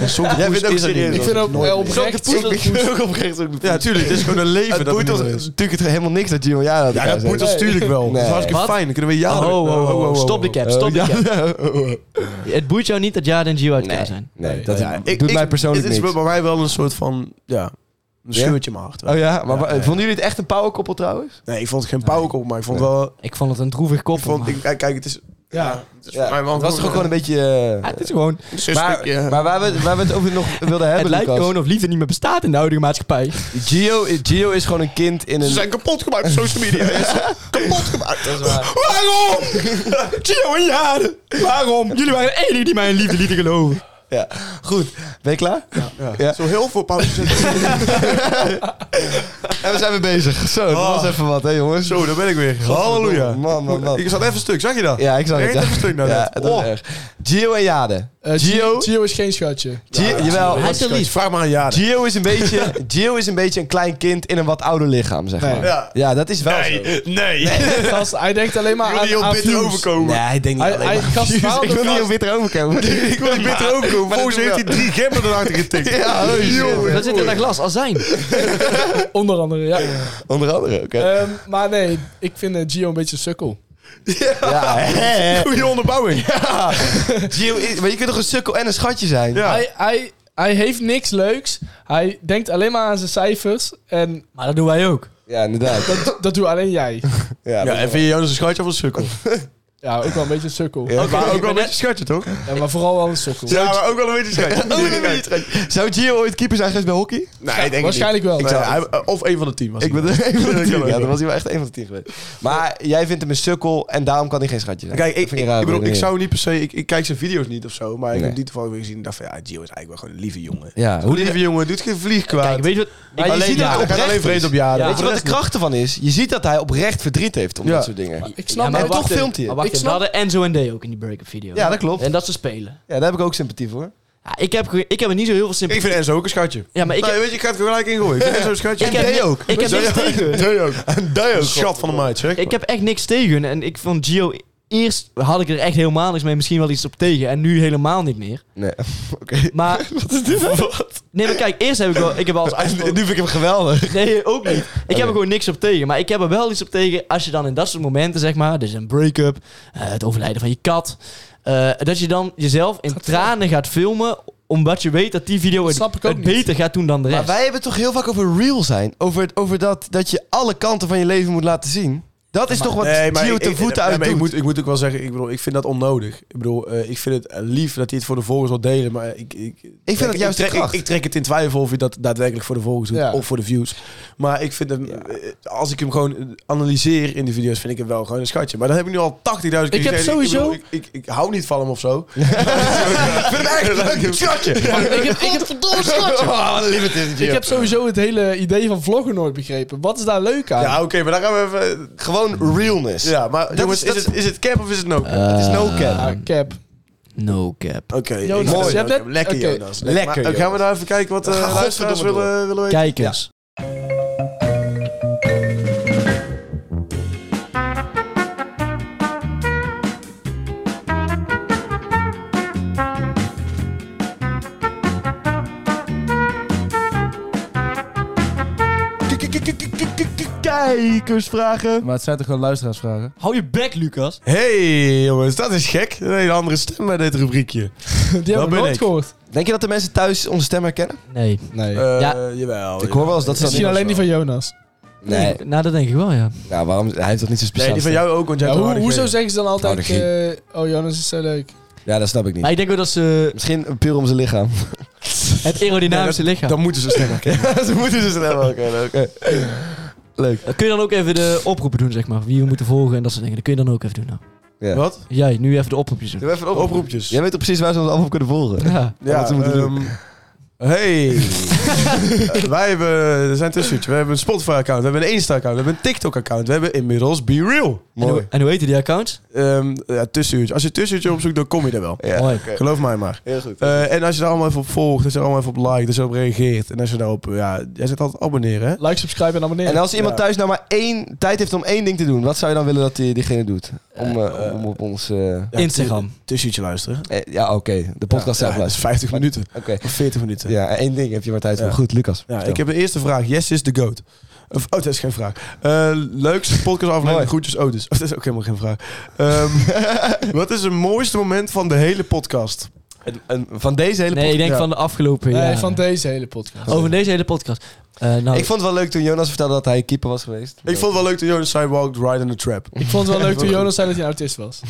Speaker 3: En Sok de
Speaker 2: Jij bent
Speaker 3: Poes
Speaker 2: ook
Speaker 3: is er niet
Speaker 2: serieus.
Speaker 3: meer.
Speaker 5: Ik vind ook
Speaker 3: Nooit
Speaker 5: wel
Speaker 3: meer.
Speaker 5: oprecht.
Speaker 2: Sok de poes. Ik vind ook oprecht Sok de poes.
Speaker 3: Ja, tuurlijk. Het is gewoon een leven
Speaker 2: Het
Speaker 3: dat
Speaker 2: boeit
Speaker 3: het
Speaker 2: ons
Speaker 3: niet meer is.
Speaker 2: natuurlijk het helemaal niks dat Gio en Jada uit
Speaker 3: Ja,
Speaker 2: elkaar
Speaker 3: dat
Speaker 2: zijn.
Speaker 3: boeit ons natuurlijk wel. Dat is
Speaker 2: Nee.
Speaker 3: hartstikke
Speaker 4: Wat?
Speaker 3: fijn. Dan kunnen we
Speaker 4: Oh,
Speaker 3: Jade...
Speaker 4: oh, oh, oh,
Speaker 3: oh, oh.
Speaker 4: Stop de cap, stop
Speaker 2: Oh,
Speaker 4: de
Speaker 2: ja.
Speaker 4: cap.
Speaker 2: Nee.
Speaker 4: Het boeit jou niet dat Jade en Gio uit elkaar zijn.
Speaker 2: Nee, dat
Speaker 3: Ja, ik-
Speaker 2: doet
Speaker 3: ik-
Speaker 2: mij persoonlijk
Speaker 3: Het is
Speaker 2: niks.
Speaker 3: bij mij wel een soort van... Ja, een
Speaker 2: Ja?
Speaker 3: scheurtje in mijn hart.
Speaker 2: Oh ja, maar
Speaker 3: Ja,
Speaker 2: wa-
Speaker 3: ja, ja.
Speaker 2: vonden jullie het echt een powerkoppel trouwens?
Speaker 3: Nee, ik vond het geen pauwkop, maar ik vond het wel...
Speaker 4: Ik vond het een droevig
Speaker 3: Ik
Speaker 4: koppel.
Speaker 3: vond, ik, kijk, kijk, het is...
Speaker 5: Ja.
Speaker 3: het is voor mij wel
Speaker 2: het was toch ook gewoon een beetje... eh,
Speaker 4: Ah, het is gewoon...
Speaker 2: maar, maar waar, we, waar we het over nog wilden
Speaker 4: het
Speaker 2: hebben,
Speaker 4: lijkt
Speaker 2: Lucas.
Speaker 4: gewoon of liefde niet meer bestaat in de huidige maatschappij.
Speaker 2: Gio, Gio is gewoon een kind in een...
Speaker 3: kapot gemaakt op social media. kapot gemaakt.
Speaker 2: Dat is waar.
Speaker 3: Waarom? Gio en Jade. Waarom?
Speaker 4: Jullie waren de enige die mij in liefde lieten geloven.
Speaker 2: Ja. Goed, ben je klaar? Ja.
Speaker 3: Zo heel veel pauze.
Speaker 2: En we zijn weer bezig. Zo, dat
Speaker 3: Oh.
Speaker 2: was even wat, hè jongens.
Speaker 3: Zo, daar ben ik weer. Halleluja.
Speaker 2: Man, man, man.
Speaker 3: Ik zat even stuk, zag je dat?
Speaker 2: Ja, ik zag
Speaker 3: Nee,
Speaker 2: het.
Speaker 3: dat
Speaker 2: ja.
Speaker 3: is een stuk nou
Speaker 2: Ja,
Speaker 3: net.
Speaker 2: dat is
Speaker 3: Oh.
Speaker 2: erg. Gio en Jade.
Speaker 5: Eh,
Speaker 2: Gio,
Speaker 5: Gio, Gio is geen schatje.
Speaker 2: Gio- jawel.
Speaker 4: Hij is heel lief.
Speaker 3: Vraag maar aan Jade.
Speaker 2: Gio is, een beetje, Gio is een beetje een klein kind in een wat ouder lichaam, zeg maar.
Speaker 3: Ja.
Speaker 2: Ja, dat is wel zo.
Speaker 3: nee.
Speaker 5: Gast, hij denkt alleen maar aan, aan views.
Speaker 3: overkomen.
Speaker 2: Nee, ik denk niet
Speaker 5: Hij-
Speaker 2: alleen
Speaker 5: hij-
Speaker 2: maar.
Speaker 5: gast,
Speaker 2: Jezus,
Speaker 5: waarom
Speaker 2: ik wil
Speaker 5: de
Speaker 2: niet
Speaker 5: gast-
Speaker 2: op witter overkomen.
Speaker 3: Ik wil niet beter overkomen. Volgens heeft hij drie gemmen erachter getikt.
Speaker 2: Ja, oh, shit.
Speaker 3: Jongen.
Speaker 4: Dat zit in dat glas, azijn.
Speaker 5: Onder andere, ja.
Speaker 2: Onder andere, oké.
Speaker 3: Eh,
Speaker 5: Ehm, maar nee, ik vind eh, Gio een beetje een sukkel.
Speaker 2: Ja, hè, hè.
Speaker 3: Goede onderbouwing.
Speaker 2: Gio is- maar je kunt toch een sukkel en een schatje zijn?
Speaker 3: Ja.
Speaker 5: Hij, hij, hij heeft niks leuks. Hij denkt alleen maar aan zijn cijfers. En
Speaker 4: Maar dat doen wij ook.
Speaker 2: Ja, inderdaad.
Speaker 5: dat, dat doe alleen jij.
Speaker 2: Ja,
Speaker 3: Ja,
Speaker 2: dat-
Speaker 3: en vind je jou dus een schatje of een sukkel?
Speaker 5: Ja, ook wel een beetje een sukkel.
Speaker 2: Ja.
Speaker 3: Maar ook
Speaker 4: ik
Speaker 3: wel
Speaker 4: ben net-
Speaker 3: een beetje schatje, toch?
Speaker 5: Ja, maar vooral wel een sukkel.
Speaker 3: Ja, maar ook wel een beetje schatje.
Speaker 2: Oh, dat weet je het. Zou Gio ooit keeper zijn geweest bij hockey?
Speaker 3: Nee, ik denk
Speaker 5: Waarschijnlijk wel.
Speaker 3: Ik zou, hij- of een van de team was
Speaker 2: Ik
Speaker 3: hij.
Speaker 2: ben er één van de tien.
Speaker 3: kan ook
Speaker 2: Ja,
Speaker 3: wel.
Speaker 2: dan was hij wel echt één van de tien geweest. Maar jij vindt hem een sukkel en daarom kan hij geen schatje zijn.
Speaker 3: Kijk, ik,
Speaker 2: Vind
Speaker 3: ik,
Speaker 2: je raar,
Speaker 3: ik bedoel, ik
Speaker 2: Benjamin?
Speaker 3: zou niet per se... Ik, ik kijk zijn video's niet of zo, maar ik
Speaker 2: Nee.
Speaker 3: heb die toevallig weer gezien en dacht van... Ja, Gio is eigenlijk wel gewoon een lieve jongen.
Speaker 2: Ja, hoe
Speaker 3: Hoe lieve jongen, doet geen vlieg kwaad.
Speaker 4: Kijk, weet je wat?
Speaker 2: Maar je
Speaker 3: alleen
Speaker 2: ziet dat
Speaker 3: ja,
Speaker 2: het
Speaker 3: hij gaat
Speaker 2: oprecht
Speaker 3: alleen vreemd
Speaker 2: is.
Speaker 3: op jaren.
Speaker 4: Ja.
Speaker 2: Weet je wat de kracht ervan is? Je ziet dat hij oprecht verdriet heeft om
Speaker 3: Ja.
Speaker 2: dat soort dingen.
Speaker 5: Ik snap
Speaker 4: Ja, maar
Speaker 2: En
Speaker 5: het.
Speaker 2: toch
Speaker 4: wacht
Speaker 2: filmt hij
Speaker 4: Maar
Speaker 2: het.
Speaker 4: wacht
Speaker 5: Ik
Speaker 4: even,
Speaker 5: snap-
Speaker 4: we hadden Enzo en Day ook in die break-up video.
Speaker 2: Ja, dat klopt.
Speaker 4: En dat ze spelen.
Speaker 2: Ja, daar heb ik ook sympathie voor.
Speaker 4: Ja, ik, heb, ge- ik heb er niet zo heel veel
Speaker 3: Ik
Speaker 4: sympathie.
Speaker 3: vind Enzo ook een schatje.
Speaker 4: Ja, maar ik
Speaker 3: nee,
Speaker 4: heb...
Speaker 3: weet je, ik ga het gelijk ingooien. Ik vind Enzo een schatje.
Speaker 4: Ik heb ni- Ik heb, niks tegen.
Speaker 3: Dij ook. En Dij ook. Schat van de meid, zeg.
Speaker 4: Ik heb echt niks tegen. En ik vond Gio... Eerst had ik er echt helemaal niks mee. Misschien wel iets op tegen. En nu helemaal niet meer.
Speaker 2: Nee, oké.
Speaker 4: Maar...
Speaker 2: Wat is dit?
Speaker 4: Nee, maar kijk. Eerst heb ik wel... Ik heb wel eens
Speaker 2: En nu
Speaker 4: uitgesproken-
Speaker 2: vind ik hem geweldig.
Speaker 4: Nee, ook niet. Ik heb er gewoon niks op tegen. Maar ik heb er wel iets op tegen als je dan in dat soort momenten, zeg maar, dus een break-up, eh, het overlijden van je kat, eh, dat je dan jezelf in tranen gaat filmen, omdat je weet dat die video het,
Speaker 5: snap ik ook
Speaker 4: het
Speaker 5: niet.
Speaker 4: beter gaat doen dan de rest.
Speaker 2: Maar wij hebben het toch heel vaak over real zijn. Over, het- over dat, dat je alle kanten van je leven moet laten zien. Dat is toch wat Gio
Speaker 3: ik-
Speaker 2: te voeten
Speaker 3: ik- nee,
Speaker 2: uit
Speaker 3: maar ik
Speaker 2: doet.
Speaker 3: moet, ik moet ook wel zeggen, ik bedoel, ik vind dat onnodig. Ik bedoel, eh, ik vind het eh, lief dat hij het voor de volgers wil delen, maar ik... Ik,
Speaker 2: het
Speaker 3: trek-
Speaker 2: juist de
Speaker 3: trek, ik,
Speaker 2: kracht.
Speaker 3: ik trek het in twijfel of hij dat daadwerkelijk voor de volgers doet,
Speaker 5: Ja.
Speaker 3: of voor de views. Maar ik vind hem, eh, als ik hem gewoon analyseer in de video's, vind ik hem wel gewoon een schatje. Maar dat heb ik nu al 80.000 keer gezegd.
Speaker 5: heb
Speaker 3: bedoel,
Speaker 5: sowieso-
Speaker 3: Ik, ik, ik hou niet van hem of zo. ik vind hem echt een schatje.
Speaker 5: Ik heb, ik, heb,
Speaker 2: Oh, wat een lief het is, Gio.
Speaker 5: ik heb sowieso het hele idee van vloggen nooit begrepen. Wat is daar leuk aan?
Speaker 3: Ja, oké, maar daar gaan we even...
Speaker 2: Gewoon realness.
Speaker 3: Ja, maar jongens,
Speaker 2: is- dat
Speaker 3: is, het, is het cap of is het no cap?
Speaker 2: Het is no cap.
Speaker 5: Ah, cap.
Speaker 4: No cap.
Speaker 3: Oké, ik-
Speaker 5: Jonas,
Speaker 3: mooi.
Speaker 5: je hebt net-
Speaker 3: Lekker,
Speaker 5: oké.
Speaker 3: Jonas. Lekker.
Speaker 2: Lekker,
Speaker 3: Maar, gaan we
Speaker 2: Jonas.
Speaker 3: nou even kijken wat de
Speaker 2: Ga
Speaker 3: luisteraars
Speaker 2: godverdomme
Speaker 3: willen, willen weten?
Speaker 4: Kijkers.
Speaker 2: Kijkersvragen.
Speaker 7: Maar het zijn toch gewoon luisteraarsvragen?
Speaker 4: Hou je bek, Lucas.
Speaker 3: Hey jongens, dat is gek. Een hele andere stem bij dit rubriekje.
Speaker 5: Die hebben we
Speaker 3: ben
Speaker 5: nooit
Speaker 3: ik.
Speaker 5: gehoord.
Speaker 2: Denk je dat de mensen thuis onze stem herkennen?
Speaker 4: Nee.
Speaker 5: Nee.
Speaker 3: Eh,
Speaker 4: Ja.
Speaker 3: Jawel.
Speaker 2: Ik hoor wel eens dat ze dat
Speaker 5: Misschien alleen die
Speaker 2: niet
Speaker 5: van Jonas.
Speaker 2: Nee,
Speaker 4: Nou, dat denk ik wel, ja.
Speaker 2: nou, waarom? Hij heeft dat niet zo speciaal.
Speaker 3: Nee, die van jou ook, want jij
Speaker 5: Ja,
Speaker 3: hebt
Speaker 5: hoe,
Speaker 3: een
Speaker 5: hoezo
Speaker 3: harde
Speaker 5: zeggen ze dan altijd...
Speaker 2: Nou,
Speaker 5: eh, oh, Jonas is zo leuk.
Speaker 2: Ja, dat snap ik niet.
Speaker 4: Maar ik denk wel dat ze
Speaker 2: Misschien puur om zijn lichaam.
Speaker 4: het aerodynamische
Speaker 3: geest.
Speaker 4: lichaam...
Speaker 3: Dan moeten ze stemmen.
Speaker 2: Ze moeten dus ze snel oké. Leuk.
Speaker 4: Kun je dan ook even de oproepen doen, zeg maar. Wie we moeten volgen en dat soort dingen. Dat kun je dan ook even doen, nou.
Speaker 2: Ja.
Speaker 3: Wat?
Speaker 4: Jij, nu even de oproepjes doen.
Speaker 2: Doe even op.
Speaker 3: Oproepjes.
Speaker 2: Jij weet toch precies waar ze ons allemaal op kunnen volgen.
Speaker 4: Ja.
Speaker 2: wat ze moeten
Speaker 3: ehm, Hey. Wij hebben, er zijn tussenuitjes. We hebben een Spotify-account, we hebben een Insta-account, we hebben een TikTok-account. We hebben inmiddels Be Real.
Speaker 4: En hoe, en hoe heette die account?
Speaker 3: Ehm ja, tussenuurtje. Als je tussenuurtje opzoekt, dan kom je er wel.
Speaker 2: Ja.
Speaker 4: Mooi.
Speaker 3: Geloof mij maar.
Speaker 2: Eh, Heel goed.
Speaker 3: Eh, en als je daar allemaal even op volgt, als je er allemaal even op liked, als je erop reageert. En als je daarop, ja, jij zit altijd abonneren, hè?
Speaker 5: Like, subscribe en abonneer.
Speaker 2: en als iemand
Speaker 3: Ja.
Speaker 2: thuis nou maar één tijd heeft om één ding te doen, wat zou je dan willen dat die, diegene doet? Om, eh, om op ons. eh,
Speaker 3: Ja,
Speaker 4: Instagram.
Speaker 3: Tussenuurtje luisteren.
Speaker 2: eh, ja, oké. De podcast
Speaker 3: ja,
Speaker 2: zelf
Speaker 3: ja, dat is
Speaker 2: luisteren.
Speaker 3: 50 minuten.
Speaker 2: Oké.
Speaker 3: Of 40 minuten.
Speaker 2: Ja, één ding heb je maar tijd voor.
Speaker 3: Ja.
Speaker 2: Goed, Lucas.
Speaker 3: Ja,
Speaker 2: vertel.
Speaker 3: ik heb een eerste vraag. Yes is the goat. Of, oh, dat is geen vraag. Eh leukste
Speaker 2: Mooi.
Speaker 3: podcastaflevering. Groetjes, Otis. Oh, dat is ook helemaal geen vraag. Ehm, wat is het mooiste moment van de hele podcast?
Speaker 2: En- en van deze hele
Speaker 4: Nee, ik denk
Speaker 3: ja.
Speaker 4: van de afgelopen
Speaker 5: Nee,
Speaker 4: jaren.
Speaker 5: van deze hele podcast.
Speaker 4: Over deze hele podcast. Eh, nou,
Speaker 2: Ik vond het wel leuk toen Jonas vertelde dat hij keeper was geweest.
Speaker 3: Ik vond het wel leuk dat Jonas zei walked right in the trap. Oké,
Speaker 5: Ik vond het wel leuk toen Jonas zei dat hij een autist was.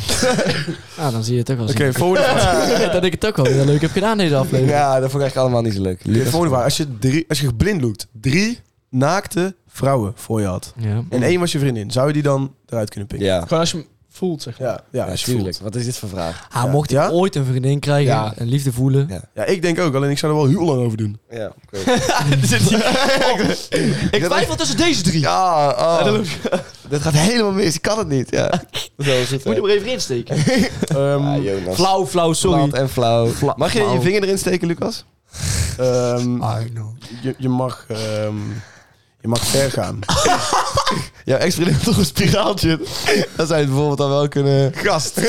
Speaker 4: ah, dan zie je het ook wel. zien.
Speaker 3: volgende vraag.
Speaker 4: dat ik het ook wel heel leuk heb gedaan deze aflevering.
Speaker 2: Ja, dat vond ik eigenlijk allemaal niet zo leuk.
Speaker 3: Oké, volgende vraag. Als je, drie, als je geblinddoekt, drie naakte vrouwen voor je had.
Speaker 4: Ja.
Speaker 3: En één was je vriendin. Zou je die dan eruit kunnen pikken?
Speaker 2: Ja,
Speaker 5: Gewoon als je hem voelt, zeg maar.
Speaker 3: Ja, ja, als je
Speaker 2: natuurlijk.
Speaker 3: voelt.
Speaker 2: Wat is dit voor vraag?
Speaker 4: Ah,
Speaker 3: Ja.
Speaker 4: mocht ik
Speaker 3: Ja?
Speaker 4: ooit een vriendin krijgen
Speaker 2: Ja.
Speaker 4: en liefde voelen.
Speaker 2: Ja.
Speaker 3: Ja, ik denk ook. Alleen ik zou er wel heel lang over doen.
Speaker 2: Ja,
Speaker 4: Ik twijfel tussen deze drie.
Speaker 2: Ja, oh. Dit gaat helemaal mis. Ik kan het niet. Ja. Zo is het.
Speaker 4: Moet je er even insteken.
Speaker 3: Ehm,
Speaker 2: Ah, Jonas.
Speaker 4: Flauw, flauw,
Speaker 2: Plat
Speaker 4: sorry.
Speaker 2: en flauw. Mag je je
Speaker 4: flauw.
Speaker 2: vinger erin steken, Lucas? Ah.
Speaker 3: ehm,
Speaker 4: I know.
Speaker 3: je, je mag... ehm, je mag ver gaan.
Speaker 2: Jouw ex-vriendin heeft toch een spiraaltje? Dan zou je het bijvoorbeeld dan wel kunnen... Gast.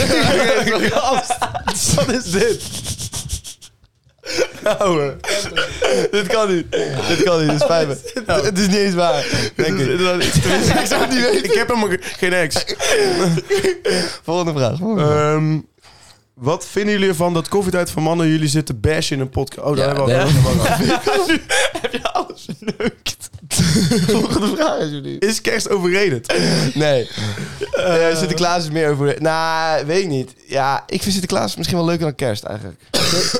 Speaker 2: Gast. Wat is dit? Ouwe. dit kan niet. Dit kan niet. Dit nou? is spijt me. Het is niet eens waar. Denk ik. ik zou het niet weten.
Speaker 3: Ik heb helemaal ge- geen ex.
Speaker 2: Volgende vraag. Volgende vraag.
Speaker 3: Ehm, wat vinden jullie ervan dat koffietijd voor mannen jullie zitten bashen in een podcast? Oh, daar
Speaker 2: Ja,
Speaker 3: hebben we
Speaker 2: daar
Speaker 3: al gehad.
Speaker 4: Heb je alles verneukt?
Speaker 2: Volgende vraag, alsjeblieft.
Speaker 3: Is kerst overrated?
Speaker 2: Nee. Eh, Sinterklaas is meer over... Nou, weet ik niet. Ja, ik vind Sinterklaas misschien wel leuker dan kerst eigenlijk.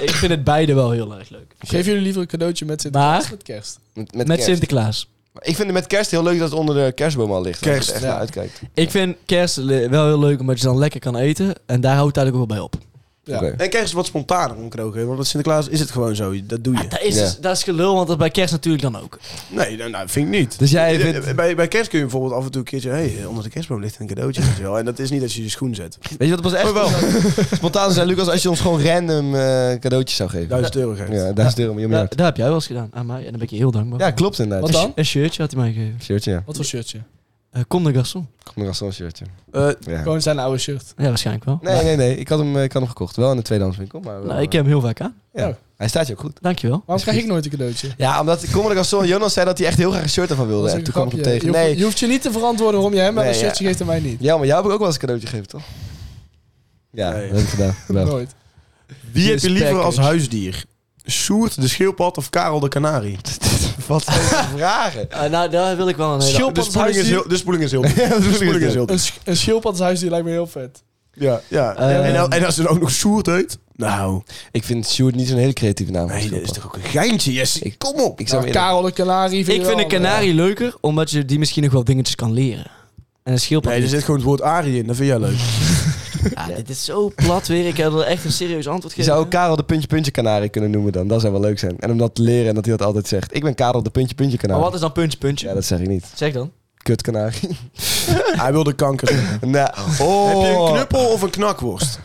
Speaker 4: ik vind het beide wel heel erg leuk.
Speaker 5: Geef jullie liever een cadeautje met Sinterklaas
Speaker 4: Maar-
Speaker 5: of met kerst?
Speaker 2: Met,
Speaker 4: Met,
Speaker 2: met kerst.
Speaker 4: Sinterklaas.
Speaker 2: Ik vind het met kerst heel leuk dat het onder de kerstboom al ligt. Dat je
Speaker 3: Kerst,
Speaker 2: er echt
Speaker 5: ja.
Speaker 2: naar uitkijkt.
Speaker 4: Ik vind kerst le- wel heel leuk omdat je dan lekker kan eten. En daar houdt het eigenlijk ook wel bij op.
Speaker 5: Ja.
Speaker 2: Oké.
Speaker 3: En kerst is wat spontaner om cadeau te geven, want met Sinterklaas is het gewoon zo. Dat
Speaker 2: Ah,
Speaker 3: doe je.
Speaker 4: Ah, Dat is, dus-
Speaker 2: Ja.
Speaker 4: dat is gelul, want dat bij kerst natuurlijk dan ook.
Speaker 3: Nee, nou, nou, vind ik niet.
Speaker 4: Dus jij
Speaker 3: Eh,
Speaker 4: vindt...
Speaker 3: Bij, bij kerst kun je bijvoorbeeld af en toe een keertje... hey, eh, onder de kerstboom ligt een cadeautje. weet je wel. En dat is niet dat je je schoen zet.
Speaker 2: Weet je wat het was echt
Speaker 3: Oh, wel.
Speaker 2: spontaan- spontaan zijn, Lucas, als je ons gewoon random eh, cadeautjes zou geven?
Speaker 3: Duizend euro geeft.
Speaker 2: Ja, duizend euro miljoen
Speaker 4: Ja,
Speaker 2: miljard.
Speaker 4: daar heb jij wel eens gedaan aan mij. En daar ben ik je heel dankbaar
Speaker 2: Ja,
Speaker 4: voor.
Speaker 2: klopt inderdaad.
Speaker 5: Wat dan?
Speaker 4: Een shirtje had hij mij gegeven.
Speaker 2: Shirtje, ja.
Speaker 5: Wat voor shirtje?
Speaker 4: Eh Comme des Garçons.
Speaker 2: Kom maar als zo'n shirtje.
Speaker 3: Eh,
Speaker 2: Ja.
Speaker 5: Gewoon zijn oude shirt.
Speaker 4: Ja, waarschijnlijk wel.
Speaker 2: Nee, nee, nee. Ik had hem, eh, ik had hem gekocht. Wel in de tweedehandswinkel, maar... wel,
Speaker 4: Nou, ik
Speaker 2: eh,
Speaker 4: heb hem heel vaak aan.
Speaker 2: ja. Hij staat je ook goed.
Speaker 4: Dankjewel.
Speaker 5: Waarom krijg ik nooit een cadeautje?
Speaker 2: Ja, omdat kom maar als zo'n Jonas zei dat hij echt heel graag een shirt ervan
Speaker 5: Dat
Speaker 2: wilde.
Speaker 5: was
Speaker 2: En
Speaker 5: een
Speaker 2: toen kwam ik hem
Speaker 5: grapje.
Speaker 2: tegen.
Speaker 5: Je hoeft,
Speaker 2: Nee,
Speaker 5: je hoeft je niet te verantwoorden waarom jij hem wel
Speaker 2: Nee,
Speaker 5: een
Speaker 2: ja.
Speaker 5: shirtje geeft en mij niet.
Speaker 2: ja, maar jou heb ik ook wel eens een cadeautje gegeven, toch? Ja,
Speaker 3: Nee.
Speaker 2: dat heb ik gedaan. Wel.
Speaker 5: Nooit.
Speaker 3: Wie heb je liever als
Speaker 4: package.
Speaker 3: huisdier? Soert de schildpad of Karel de kanarie?
Speaker 2: Wat zijn dat voor vragen?
Speaker 4: Eh, nou, daar wil ik wel een hele...
Speaker 5: Schil-
Speaker 3: De
Speaker 5: Schildpad
Speaker 3: spoeling dus is
Speaker 5: huisdier?
Speaker 3: heel... De spoeling is heel... De spoeling is heel...
Speaker 5: Een, sch een schildpadhuis die lijkt me heel vet.
Speaker 3: Ja, ja.
Speaker 4: Ehm.
Speaker 3: en, al- en als ze dan ook nog Soert heet? Nou,
Speaker 2: Ik vind Sjoerd niet zo'n hele creatieve naam.
Speaker 3: nee, dat is toch ook een geintje, Jesse?
Speaker 2: Ik-
Speaker 3: Kom op.
Speaker 2: Ik zou
Speaker 5: Nou,
Speaker 2: hem
Speaker 5: Karel de Canarie vind eh,
Speaker 4: Ik vind een kanarie leuker, omdat je die misschien nog wel dingetjes kan leren. En een schildpad.
Speaker 3: Nee, er
Speaker 2: dus
Speaker 4: niet.
Speaker 3: zit gewoon het woord Arie in. Dat vind jij leuk.
Speaker 4: Ja, dit is zo plat weer. Ik heb er echt een serieus antwoord
Speaker 2: Je
Speaker 4: gegeven.
Speaker 2: zou ook Karel de Puntje Puntje Kanarie kunnen noemen dan. Dat zou wel leuk zijn. En om dat te leren en dat hij dat altijd zegt. Ik ben Karel de Puntje Puntje
Speaker 4: Maar
Speaker 2: Kanarie.
Speaker 4: wat is dan puntje, puntje?
Speaker 2: Ja, dat zeg ik niet.
Speaker 4: Zeg dan.
Speaker 2: Kut Kanarie.
Speaker 3: Hij wilde kanker. zeggen.
Speaker 2: nou, oh.
Speaker 3: Heb je een knuppel of een knakworst?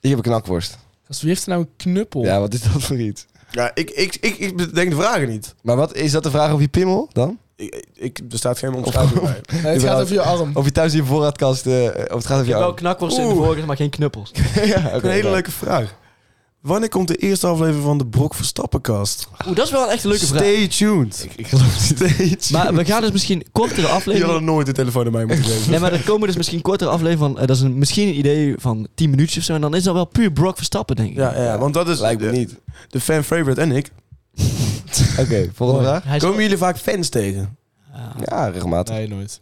Speaker 2: Ik heb een knakworst.
Speaker 5: Als wie heeft er nou een knuppel?
Speaker 2: Ja, wat is dat voor iets?
Speaker 3: Ja, ik, ik, ik, ik bedenk de vragen niet.
Speaker 2: Maar wat is dat de vraag of je pimmel dan?
Speaker 3: Ik, ik, er staat geen omschrijving bij.
Speaker 5: Nee, het
Speaker 2: überhaupt. Oh,
Speaker 5: gaat over je arm.
Speaker 2: Of je thuis in je voorraadkast... eh, of het gaat over
Speaker 4: Ik heb
Speaker 2: jou?
Speaker 4: wel knakworst in de
Speaker 3: Oeh.
Speaker 4: vorige, maar geen knuppels.
Speaker 2: ja, oké,
Speaker 3: een hele
Speaker 2: nou.
Speaker 3: leuke vraag. Wanneer komt de eerste aflevering van de Brok Verstappenkast?
Speaker 4: Oeh, dat is wel echt een echte leuke vraag.
Speaker 3: Stay tuned. Ik, geloof het. Stay tuned.
Speaker 4: Maar we gaan dus misschien kortere
Speaker 3: Je had
Speaker 4: afleveringen...
Speaker 3: nooit de telefoon aan mij moeten geven.
Speaker 4: Nee, maar er komen dus misschien kortere afleveringen van... eh, dat is een, misschien een idee van 10 minuutjes of zo. En dan is dat wel puur Brock Verstappen, denk ik.
Speaker 3: Ja, ja, want dat is
Speaker 2: Lijkt me
Speaker 3: de,
Speaker 2: niet.
Speaker 3: de fan favorite en ik.
Speaker 2: Oké, volgende vraag.
Speaker 4: Hij is-
Speaker 3: Komen jullie vaak fans tegen?
Speaker 4: Ja.
Speaker 2: Ja, regelmatig.
Speaker 5: Nee, nooit.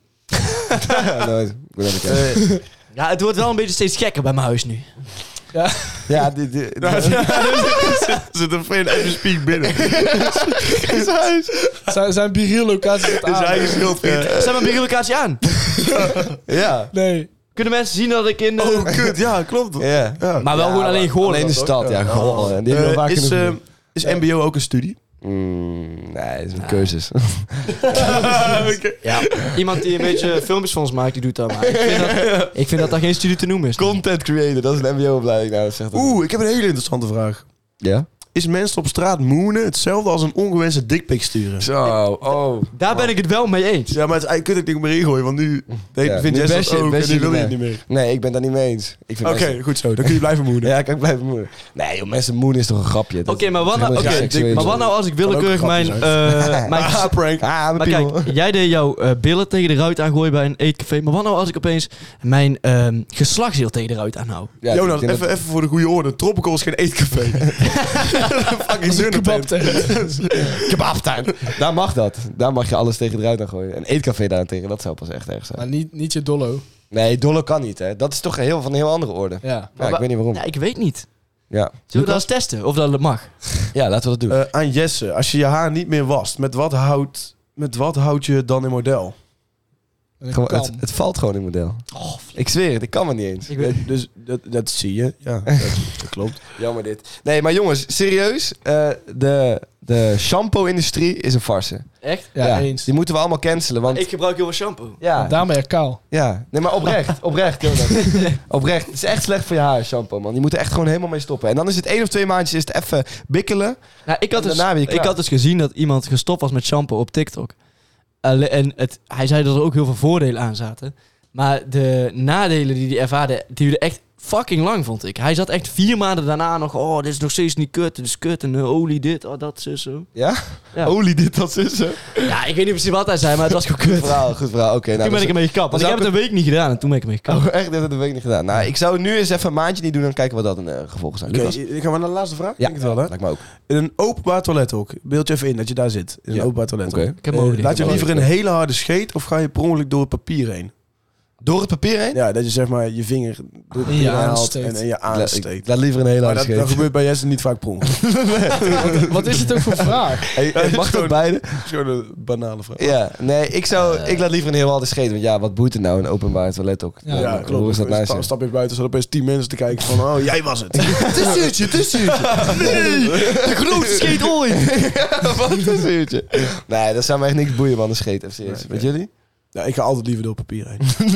Speaker 2: Ja, nooit. Ik ben even kijken.
Speaker 3: Eh,
Speaker 4: Ja, het wordt wel een beetje steeds gekker bij mijn huis nu.
Speaker 2: Ja, dit... dit-
Speaker 3: Er zit een fan even speak binnen.
Speaker 5: Zijn, zijn biriel locaties het
Speaker 3: Dus Is
Speaker 5: aan?
Speaker 3: eigen schildpad.
Speaker 4: Zet mijn bierlocatie aan.
Speaker 2: Ja.
Speaker 5: Nee.
Speaker 4: Kunnen mensen zien dat ik in... eh,
Speaker 3: Oh, kut. Ja, klopt.
Speaker 2: Ja.
Speaker 3: Ja.
Speaker 4: Maar wel gewoon alleen Goorland.
Speaker 2: Alleen de stad, ja. Goh, en die hebben we
Speaker 3: Eh,
Speaker 2: vaak
Speaker 3: is,
Speaker 2: genoeg
Speaker 3: eh,
Speaker 2: gezien.
Speaker 3: Is mbo ook een studie?
Speaker 2: Mm, nee, het is een cursus.
Speaker 4: Ja. Iemand die een beetje filmpjes van ons maakt, die doet dat maar. Ik vind dat, ik vind dat daar geen studie te noemen is.
Speaker 2: Content creator, dat is een mbo opleiding. Nou, dat zegt dat
Speaker 3: Oeh, ik heb een hele interessante vraag.
Speaker 2: Ja?
Speaker 3: Is mensen op straat moenen hetzelfde als een ongewenste dikpik sturen?
Speaker 2: Zo, oh.
Speaker 4: Daar ben ik het wel mee eens.
Speaker 3: Ja, maar het, je kunt het niet meer ingooien, want nu nee,
Speaker 2: Ja,
Speaker 3: vindt
Speaker 2: nu
Speaker 3: Jess
Speaker 2: bash
Speaker 3: dat
Speaker 2: je-
Speaker 3: ook
Speaker 2: bash
Speaker 3: en
Speaker 2: je
Speaker 3: nu wil je het
Speaker 2: erbij.
Speaker 3: niet meer.
Speaker 2: Nee, ik ben daar niet mee eens. Ik vind
Speaker 3: Oké,
Speaker 2: mensen-
Speaker 3: goed zo. Dan kun je blijven moenen.
Speaker 2: Ja, kan ik blijven moeder. Nee, joh, mensen moeder is toch een grapje.
Speaker 4: Oké, maar, wat nou-
Speaker 2: Oké,
Speaker 4: oké, maar wat nou als ik willekeurig
Speaker 3: Kan ook een
Speaker 4: mijn...
Speaker 3: grapje
Speaker 4: eh, mijn
Speaker 3: Ah, prank.
Speaker 2: Ah,
Speaker 4: maar
Speaker 2: mijn piemel.
Speaker 4: kijk, jij deed jouw eh, billen tegen de ruit aangooien bij een eetcafé. Maar wat nou als ik opeens mijn ehm geslachtsdeel tegen de ruit aanhoud?
Speaker 2: Ja, ik
Speaker 3: Jonas,
Speaker 2: denk dat-
Speaker 3: even, even voor de goede orde. Tropical is geen eetcafé. Fucking zin
Speaker 5: Kebab tegen.
Speaker 2: Kebabtuin. Daar mag dat. Daar mag je alles tegen eruit aan gooien. Een eetcafé daarentegen, dat zou pas echt erg
Speaker 5: Maar
Speaker 2: zijn.
Speaker 5: niet, niet je dollo.
Speaker 2: Nee, dollo kan niet, hè. Dat is toch een heel, van een heel andere orde.
Speaker 5: Ja.
Speaker 2: Ja, ik
Speaker 4: wa-
Speaker 2: weet niet waarom.
Speaker 4: Ja, ik weet niet.
Speaker 2: Ja.
Speaker 4: Zullen we dat eens testen? Of dat mag?
Speaker 2: ja, laten we dat doen.
Speaker 3: Eh, aan Jesse, als je je haar niet meer wast, met wat houdt, met wat houd je dan in model?
Speaker 5: En een
Speaker 2: Gewoon-
Speaker 5: kam.
Speaker 2: het, oh, het valt gewoon in model. ik zweer het, ik kan me niet eens.
Speaker 4: Ik weet-
Speaker 3: Eh, dus dat, dat zie je. Ja, dat, dat klopt.
Speaker 2: Jammer dit. Nee, maar jongens, serieus. eh, de de shampoo-industrie is een farse.
Speaker 4: Echt?
Speaker 5: ja,
Speaker 2: Ja,
Speaker 5: eens.
Speaker 2: Die moeten we allemaal cancelen, want...
Speaker 4: Ik gebruik heel veel shampoo.
Speaker 2: ja,
Speaker 5: Daarom ben je kaal.
Speaker 2: ja. Nee, maar oprecht. Oprecht, Jonas. oprecht. Het is echt slecht voor je haar, shampoo, man. Je moet er echt gewoon helemaal mee stoppen. En dan is het één of twee maandjes is het even bikkelen.
Speaker 4: Nou, ik, had
Speaker 2: En
Speaker 4: dus,
Speaker 2: daarna ben je
Speaker 4: ik
Speaker 2: klaar.
Speaker 4: had dus gezien dat iemand gestopt was met shampoo op TikTok. Alle- en het, hij zei dat er ook heel veel voordelen aan zaten. Maar de nadelen die hij ervaarde, duurde echt fucking lang, vond ik. Hij zat echt vier maanden daarna nog... Oh, dit is nog steeds niet kut, dit is kut. En eh, olie dit, oh, dat, zus, zo.
Speaker 2: Ja?
Speaker 4: Ja.
Speaker 2: Olie dit, dat is zo.
Speaker 4: Ja, ik weet niet precies wat hij zei, maar het was gewoon kut.
Speaker 2: Goed verhaal, goed verhaal. Oké, nou,
Speaker 4: toen ben
Speaker 2: dat
Speaker 4: ik
Speaker 2: is-
Speaker 4: ermee gekapt. Want ik
Speaker 2: zou
Speaker 4: heb het een week niet gedaan en toen ben ik ermee gekapt.
Speaker 2: Oh, echt, dat heb ik een week niet gedaan. Nou, ik zou nu eens even een maandje niet doen en kijken wat dat een eh, gevolg zijn.
Speaker 3: Oké,
Speaker 2: Lucas?
Speaker 3: gaan we naar de laatste vraag?
Speaker 2: Ja,
Speaker 3: Denk het wel, hè?
Speaker 2: lijkt me ook.
Speaker 3: In een openbaar toilet ook. Beeld je even in dat je daar zit. In
Speaker 2: Ja.
Speaker 3: een openbaar toilet. Eh,
Speaker 2: Oké.
Speaker 4: Ik heb hem ook niet.
Speaker 3: laat je
Speaker 2: heb
Speaker 3: liever
Speaker 2: ook
Speaker 3: een hele harde scheet of ga je per ongeluk door het papier heen?
Speaker 2: Door het papier heen?
Speaker 3: Ja, dat je zeg maar je vinger door het
Speaker 5: In je
Speaker 3: papier
Speaker 5: aan
Speaker 3: haalt
Speaker 5: steekt.
Speaker 3: en, en je
Speaker 2: La-
Speaker 3: aansteekt.
Speaker 2: ik laat liever een hele
Speaker 3: Maar
Speaker 2: harde
Speaker 3: dat, dat
Speaker 2: scheet.
Speaker 3: gebeurt bij Jesse niet vaak per ongeluk.
Speaker 5: Wat is het ook voor vraag?
Speaker 2: Hey, hey, mag dat
Speaker 3: Gewoon-
Speaker 2: beide?
Speaker 3: Dat is gewoon een banale vraag.
Speaker 2: Ja, nee, ik, zou, ik laat liever een heel harde scheet. Want ja, wat boeit het nou, een openbaar toilet ook?
Speaker 5: Ja,
Speaker 3: Ja,
Speaker 2: hoe- Hoe
Speaker 3: klopt.
Speaker 2: is dat
Speaker 3: Sta-
Speaker 2: nice?
Speaker 3: stap, je buiten, zodat opeens tien mensen te kijken van, oh, jij was het. Het is uurtje, het is
Speaker 4: De grootste scheet ooit!
Speaker 2: Wat een uurtje. Nee, dat zou me echt niks boeien, man, een scheet. Even serieus.
Speaker 3: Nee,
Speaker 2: Met
Speaker 3: oké.
Speaker 2: jullie?
Speaker 3: Ja, ik ga altijd liever door papier heen.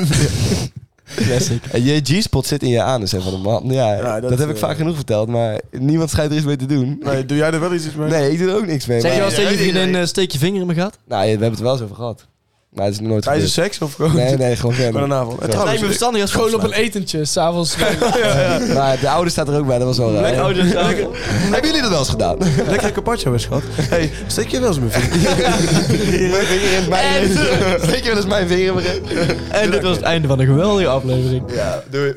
Speaker 2: Classic. En je G-spot zit in je anus, hè, van de man. Ja,
Speaker 3: Ja,
Speaker 2: dat,
Speaker 3: dat,
Speaker 2: heb ik
Speaker 3: eh,
Speaker 2: vaak genoeg verteld, maar niemand schijnt er iets mee te doen. Nee,
Speaker 3: Nee, doe jij er wel iets mee?
Speaker 2: ik doe er ook niks mee.
Speaker 4: Zeg je
Speaker 2: maar-
Speaker 4: als tegen je vriendin, eh, steek je vinger in mijn gat?
Speaker 2: Nou, we hebben het wel eens over gehad. Maar het is nog nooit
Speaker 3: Tijdens
Speaker 2: gebeurd.
Speaker 3: seks of gewoon?
Speaker 2: Nee, nee, gewoon
Speaker 3: Gewoon
Speaker 2: verder.
Speaker 3: een avond. En
Speaker 2: Ja.
Speaker 4: Lijkt
Speaker 3: trouwens,
Speaker 4: me verstandig als
Speaker 5: Gewoon op een etentje, s'avonds.
Speaker 2: Maar de oude staat er ook bij, dat was wel raar. Hebben jullie dat wel eens gedaan?
Speaker 3: lekker carpaccio weer, schat. hey, steek je wel eens mijn vinger?
Speaker 2: Mijn vinger in mijn Weet je wel eens mijn vinger in mijn reet?
Speaker 4: En dit was het einde van een geweldige aflevering.
Speaker 2: Ja, doei.